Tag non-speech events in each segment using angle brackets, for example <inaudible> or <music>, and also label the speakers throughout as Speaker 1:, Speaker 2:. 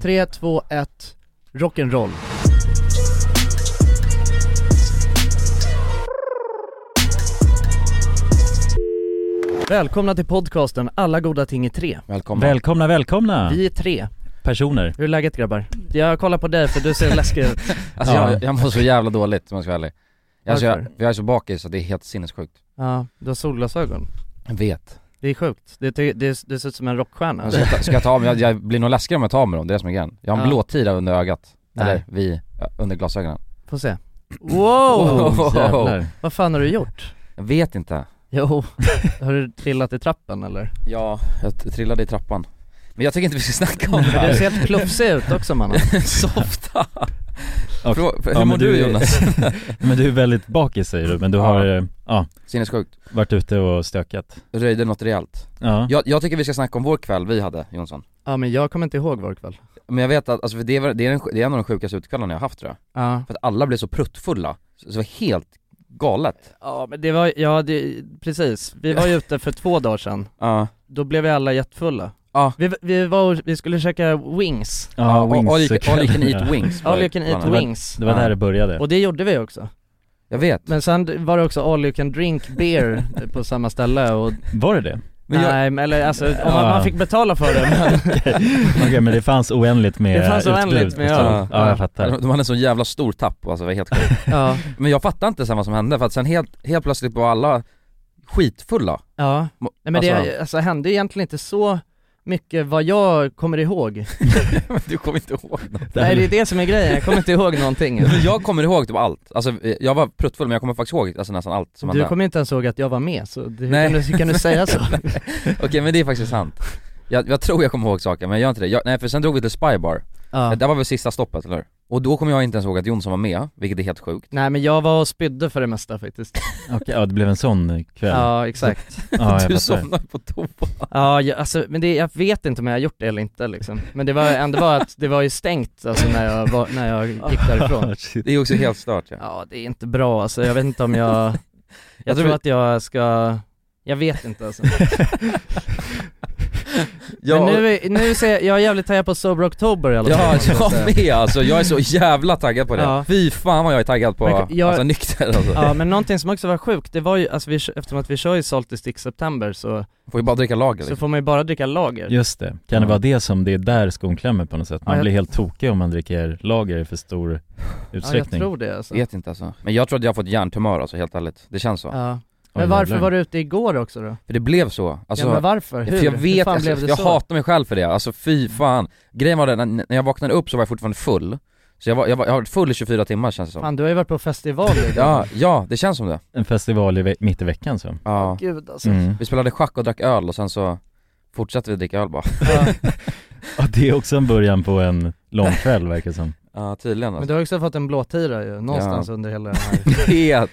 Speaker 1: 3, 2, 1, rock'n'roll Välkomna till podcasten Alla goda ting i tre
Speaker 2: Välkomna.
Speaker 3: Välkomna, välkomna
Speaker 1: Vi är tre,
Speaker 3: personer.
Speaker 1: hur är läget grabbar? Jag kollar på dig för du <laughs> ser läskig ut
Speaker 2: alltså
Speaker 3: Ja.
Speaker 2: jag, jag mår så jävla dåligt om jag ska vara ärlig. Alltså jag,
Speaker 1: Varför?
Speaker 2: jag är så bakis så det är helt sinnessjukt.
Speaker 1: Ja, du har solglasögon
Speaker 2: Jag vet.
Speaker 1: Det är sjukt, det, det, det, det ser ut som en rockstjärna
Speaker 2: Men Ska jag, ta, ska jag ta av mig, jag, jag blir nog läskigare om jag tar av mig dem, det är det som är grejen. Jag har en
Speaker 1: Ja.
Speaker 2: blåtira under ögat.
Speaker 1: Nej.
Speaker 2: Eller vi, ja, under glasögonen.
Speaker 1: Får se Wow!
Speaker 2: Wow.
Speaker 3: jävlar.
Speaker 1: Vad fan har du gjort?
Speaker 2: Jag vet inte.
Speaker 1: Jo, <laughs> har du trillat i trappen eller?
Speaker 2: Ja, jag t- trillade i trappan. Men jag tycker inte vi ska snacka om
Speaker 1: Men
Speaker 2: det
Speaker 1: Du
Speaker 2: här.
Speaker 1: ser helt plufsig ut också mannen
Speaker 2: <laughs> Softa.
Speaker 3: Och-
Speaker 2: Frå, hur
Speaker 3: men
Speaker 2: mår du,
Speaker 3: du är-
Speaker 2: Jonas?
Speaker 3: <laughs> Men du är väldigt bakis säger du, men du
Speaker 2: Ja.
Speaker 3: har, eh, ja,
Speaker 2: <laughs> Sinnessjukt.
Speaker 3: varit ute och stökat.
Speaker 2: Röjde något rejält.
Speaker 3: Ja.
Speaker 2: Jag, jag tycker vi ska snacka om vår kväll vi hade, Jonsson.
Speaker 1: Ja men jag kommer inte ihåg vår kväll
Speaker 2: Men jag vet att, alltså för det, var, det, är en, det är en av de sjukaste utekvällarna jag har haft tror jag.
Speaker 1: Ja,
Speaker 2: För att alla blev så pruttfulla, så det var helt galet
Speaker 1: ja men det var, ja det, precis, vi
Speaker 2: <laughs>
Speaker 1: var ju ute för två dagar sedan,
Speaker 2: Ja,
Speaker 1: då blev vi alla jättfulla
Speaker 2: Ja.
Speaker 1: Vi, vi var och, vi skulle käka wings,
Speaker 3: Ja,
Speaker 2: all, all, you can- all
Speaker 3: <laughs>
Speaker 2: you can
Speaker 3: Ja.
Speaker 1: <laughs>
Speaker 2: eat wings var
Speaker 1: all
Speaker 2: det
Speaker 1: you can eat
Speaker 2: planen.
Speaker 1: wings
Speaker 3: Det var där det började.
Speaker 1: Och det gjorde vi också,
Speaker 2: Jag vet,
Speaker 1: men sen var det också all you can drink beer på samma ställe och,
Speaker 3: Var det det?
Speaker 2: <laughs> men jag,
Speaker 1: nej men eller alltså, om man,
Speaker 3: Ja.
Speaker 1: man fick betala för det
Speaker 2: <laughs>
Speaker 1: men
Speaker 3: <laughs> Okej, men det fanns oändligt med
Speaker 1: Det fanns oändligt
Speaker 3: utbud. liksom.
Speaker 1: med
Speaker 2: öl.
Speaker 3: Ja, jag fattar.
Speaker 2: de de hade en sån jävla stor tapp alltså, det var helt sjukt
Speaker 1: Ja,
Speaker 2: Men jag fattar inte sen vad som hände för att sen helt, helt plötsligt var alla skitfulla
Speaker 1: ja
Speaker 2: Mo-
Speaker 1: Nej men
Speaker 2: alltså,
Speaker 1: det alltså, hände egentligen inte så mycket vad jag kommer
Speaker 2: <laughs>
Speaker 1: ihåg
Speaker 2: men du kommer inte ihåg något.
Speaker 1: Nej det är det som är grejen, jag kommer inte ihåg någonting
Speaker 2: Men Jag kommer ihåg typ allt, alltså jag var pruttfull men jag kommer faktiskt ihåg alltså, nästan allt <laughs> som
Speaker 1: Du
Speaker 2: hände
Speaker 1: kommer inte ens ihåg att jag var med så det, hur
Speaker 2: Nej.
Speaker 1: kan, du, hur kan du säga
Speaker 2: <laughs>
Speaker 1: så?
Speaker 2: Okej men det är faktiskt sant jag, jag tror jag kommer ihåg saker men jag gör inte det, jag, nej för sen drog vi till Spybar,
Speaker 1: ja.
Speaker 2: det var väl sista stoppet eller hur? Och då kommer jag inte ens ihåg att Jonsson var med, vilket är helt sjukt
Speaker 1: Nej men jag var och spydde för det mesta faktiskt
Speaker 3: Okej, ja det blev en sån kväll. Ja,
Speaker 1: Ja exakt,
Speaker 3: jag
Speaker 2: Du
Speaker 3: fattar.
Speaker 2: somnade på toa
Speaker 1: ja jag, alltså, men det, jag vet inte om jag har gjort det eller inte liksom Men det var ändå bara att det var ju stängt alltså, när, jag var, när jag gick därifrån
Speaker 3: <laughs> Shit.
Speaker 2: Det är också helt stört ja.
Speaker 1: <laughs> Ja det är inte bra alltså, jag vet inte om jag, jag,
Speaker 2: Jag tror
Speaker 1: tror
Speaker 2: vi-
Speaker 1: att jag ska jag vet inte alltså.
Speaker 2: <laughs> Ja,
Speaker 1: Men nu, är- nu ser jag, jag är jävligt taggad på Sober October i alla
Speaker 2: ja
Speaker 1: fall <laughs>
Speaker 2: jag med alltså, jag är så jävla taggad på det.
Speaker 1: Ja.
Speaker 2: Fy fan vad jag är taggad på,
Speaker 1: Men jag-
Speaker 2: alltså nykter alltså.
Speaker 1: Ja men någonting som också var sjukt, det var ju, alltså vi, eftersom att vi kör ju Salty Stick September så,
Speaker 2: Får ju bara dricka lager
Speaker 1: så
Speaker 2: liksom.
Speaker 1: får man ju bara dricka lager
Speaker 3: Just det. Kan det vara det som, det är där skon klämmer på något sätt?
Speaker 1: Ja,
Speaker 3: Man
Speaker 1: jag-
Speaker 3: blir helt tokig om man dricker lager i för stor
Speaker 1: Ja jag
Speaker 3: utsträckning.
Speaker 1: tror det alltså
Speaker 2: Vet inte alltså. Men jag tror att jag har fått hjärntumör alltså, helt ärligt. Det känns så.
Speaker 1: ja.
Speaker 3: Oj,
Speaker 1: Men varför
Speaker 3: jävlar.
Speaker 1: var du ute igår också då?
Speaker 2: För det blev så. Alltså,
Speaker 1: ja men varför? Hur?
Speaker 2: För jag
Speaker 1: Hur
Speaker 2: vet,
Speaker 1: fan
Speaker 2: alltså,
Speaker 1: blev det
Speaker 2: jag
Speaker 1: så?
Speaker 2: hatar mig själv för det. Alltså fy fan. Grejen var den, när jag vaknade upp så var jag fortfarande full. Så jag var, jag var, jag har varit full i 24 timmar känns det som.
Speaker 1: Fan du har ju varit på festival idag
Speaker 2: Ja, ja, det känns som det.
Speaker 3: En festival i ve- mitt i veckan så.
Speaker 2: Ja.
Speaker 1: <laughs> Gud alltså
Speaker 3: Mm.
Speaker 2: Vi spelade schack och drack öl och sen så fortsatte vi dricka öl bara.
Speaker 1: ja.
Speaker 3: <laughs> Ja, det är också en början på en lång kväll verkar det som.
Speaker 2: Ja tydligen
Speaker 1: Men
Speaker 2: alltså.
Speaker 1: du har också fått en blåtira ju, någonstans under hela den här
Speaker 2: Vet!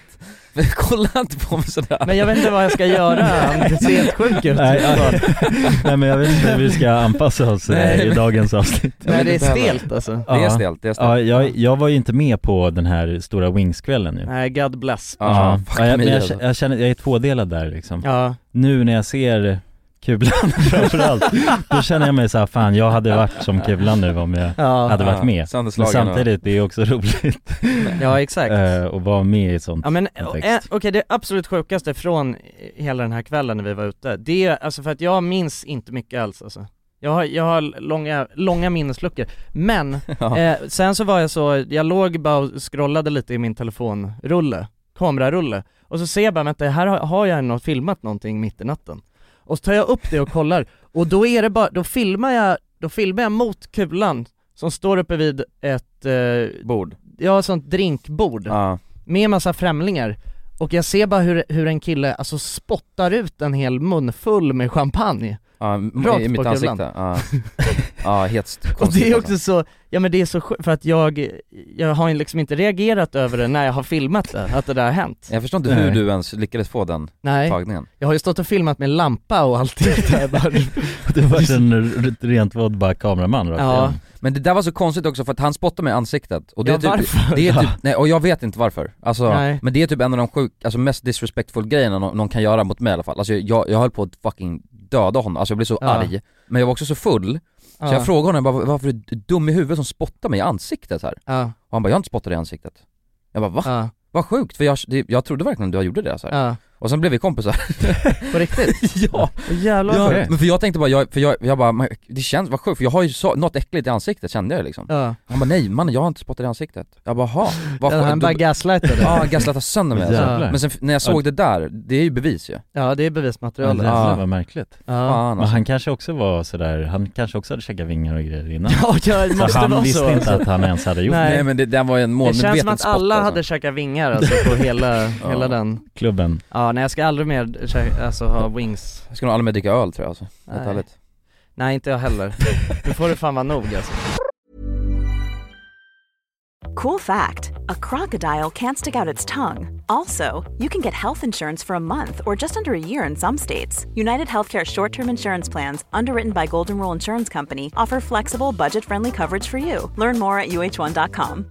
Speaker 2: Men kolla inte på mig sådär.
Speaker 1: Men jag vet inte vad jag ska göra, det ser helt sjuk ut Alltså.
Speaker 3: Nej, ja. <laughs> Nej men jag vet inte hur vi ska anpassa oss eh,
Speaker 2: Nej,
Speaker 3: i
Speaker 2: men-
Speaker 3: dagens avsnitt.
Speaker 1: Nej det är
Speaker 2: inte heller.
Speaker 1: stelt alltså
Speaker 2: Det är
Speaker 3: Ja.
Speaker 2: stelt, det är stelt.
Speaker 3: Ja, jag, jag var ju inte med på den här stora Wings-kvällen nu.
Speaker 1: Nej God bless
Speaker 2: Ja, fuck
Speaker 3: ja, jag,
Speaker 2: mig
Speaker 3: men jag,
Speaker 2: alltså.
Speaker 3: jag känner, jag är tvådelad där liksom.
Speaker 1: Ja,
Speaker 3: Nu när jag ser Kulan <laughs> framförallt, då känner jag mig såhär, fan jag hade varit som Kulan nu om jag
Speaker 1: ja,
Speaker 3: hade varit med. Men
Speaker 2: Sönderslagen
Speaker 3: samtidigt, det är också roligt
Speaker 1: ja exakt
Speaker 3: eh, att vara med i ett sånt.
Speaker 1: Ja men eh,
Speaker 3: kontext.
Speaker 1: okej det absolut sjukaste från hela den här kvällen när vi var ute, det är alltså för att jag minns inte mycket alls alltså. Jag har, jag har långa, långa minnesluckor, men
Speaker 2: <laughs> Ja.
Speaker 1: eh, sen så var jag så, jag låg bara och scrollade lite i min telefonrulle, kamerarulle, och så ser jag bara vänta, här har, har jag något, filmat någonting mitt i natten. Och så tar jag upp det och kollar, och då är det bara, då filmar jag, då filmar jag mot kulan som står uppe vid ett, eh,
Speaker 2: bord.
Speaker 1: ja sånt drinkbord
Speaker 2: Ja.
Speaker 1: med massa främlingar och jag ser bara hur, hur en kille alltså spottar ut en hel munfull med champagne
Speaker 2: Ja, m-
Speaker 1: Rakt
Speaker 2: i mitt
Speaker 1: på
Speaker 2: ansikte.
Speaker 1: kulan.
Speaker 2: Ja, ja helt st-
Speaker 1: Och
Speaker 2: konstigt
Speaker 1: det är
Speaker 2: alltså.
Speaker 1: också så, ja men det är så sjukt för att jag, jag har ju liksom inte reagerat över det när jag har filmat det, att det där har hänt
Speaker 2: Jag förstår inte hur
Speaker 3: Nej.
Speaker 2: du ens lyckades få den
Speaker 1: Nej,
Speaker 2: tagningen.
Speaker 1: jag har ju stått och filmat med lampa och allting
Speaker 2: <laughs>
Speaker 1: där bara,
Speaker 4: <laughs>
Speaker 3: Det var en r- rent vad bara kameraman rakt
Speaker 1: Ja.
Speaker 3: igenom.
Speaker 2: Men det där var så konstigt också för att han spottade mig i ansiktet och det
Speaker 1: Ja,
Speaker 2: är typ,
Speaker 1: varför?
Speaker 2: Det är typ, nej, och jag vet inte varför. Alltså,
Speaker 1: Nej.
Speaker 2: men det är typ en av de sjuk, alltså mest disrespectful grejerna någon, någon kan göra mot mig i alla fall. Alltså jag, jag höll på att fucking döda honom, alltså jag blev så
Speaker 1: Ja.
Speaker 2: arg. Men jag var också så full, Så jag frågade honom, jag bara, varför är du dum i huvudet som spottar mig i ansiktet här?
Speaker 1: Ja,
Speaker 2: Och han bara, jag har inte spottat dig i ansiktet. Jag bara, va?
Speaker 1: ja,
Speaker 2: Vad sjukt, för jag, det, jag trodde verkligen du gjorde det så här.
Speaker 1: ja,
Speaker 2: Och sen blev
Speaker 1: <laughs>
Speaker 2: vi kompisar.
Speaker 1: på riktigt?
Speaker 2: <laughs> ja,
Speaker 1: Åh, Jävlar vad
Speaker 2: ja
Speaker 1: sjukt.
Speaker 2: men för jag tänkte bara, jag, för jag, jag bara, "Men det känns, vad sjukt, för jag har ju så, något äckligt i ansiktet kände jag liksom.
Speaker 1: Ja,
Speaker 2: Han bara, nej mannen jag har inte spottat i ansiktet. Jag bara, "Jaha, vad
Speaker 1: ja, han
Speaker 2: sjukt.
Speaker 1: bara
Speaker 2: Då-
Speaker 1: gaslightade
Speaker 2: Ja, han gaslightade sönder mig alltså.
Speaker 1: Ja.
Speaker 4: Jävlar.
Speaker 2: Men sen f- när jag såg det där, det är ju bevis ju.
Speaker 1: Ja det är
Speaker 4: Men
Speaker 1: bevismaterialet
Speaker 4: Jävlar
Speaker 2: Ja.
Speaker 4: vad märkligt.
Speaker 1: Ja,
Speaker 2: Fan
Speaker 4: Men
Speaker 2: alltså.
Speaker 4: han kanske också var sådär, han kanske också hade käckat vingar och grejer innan.
Speaker 1: <laughs> ja det
Speaker 4: Så
Speaker 1: måste
Speaker 4: han
Speaker 1: vara
Speaker 4: visste
Speaker 1: så
Speaker 4: inte
Speaker 1: alltså.
Speaker 4: att han ens hade gjort
Speaker 1: Nej.
Speaker 2: Nej men det, den var ju en
Speaker 1: Det
Speaker 2: målmedveten
Speaker 1: känns som att
Speaker 2: spott,
Speaker 1: alla
Speaker 2: alltså.
Speaker 1: hade käkat vingar alltså på
Speaker 2: <laughs>
Speaker 1: hela, hela den
Speaker 4: klubben.
Speaker 1: Ja nej jag ska aldrig mer käka, alltså ha wings
Speaker 2: Jag ska nog aldrig mer dricka öl tror jag alltså, helt
Speaker 1: Nej.
Speaker 2: ärligt.
Speaker 1: Nej inte jag heller, <laughs> nu får det fan vara nog alltså
Speaker 5: Cool fact a crocodile can't stick out its tongue. Also, you can get health insurance for a month or just under a year in some states. United Healthcare short term insurance plans, underwritten by Golden Rule Insurance Company, offer flexible, budget friendly coverage for you. Learn more at uh1.com.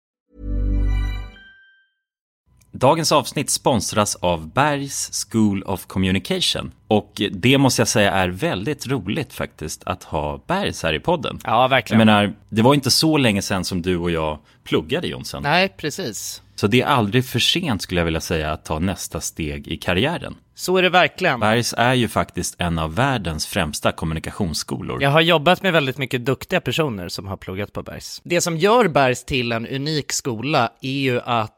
Speaker 3: Dagens avsnitt sponsras av Bergs School of Communication. Och det måste jag säga är väldigt roligt faktiskt att ha Bergs här i podden.
Speaker 1: Ja verkligen
Speaker 3: Jag menar, det var inte så länge sedan som du och jag pluggade Jonsson.
Speaker 1: Nej precis,
Speaker 3: Så det är aldrig för sent skulle jag vilja säga att ta nästa steg i karriären.
Speaker 1: så är det verkligen
Speaker 3: Bergs är ju faktiskt en av världens främsta kommunikationsskolor.
Speaker 1: Jag har jobbat med väldigt mycket duktiga personer som har pluggat på Bergs. Det som gör Bergs till en unik skola är ju att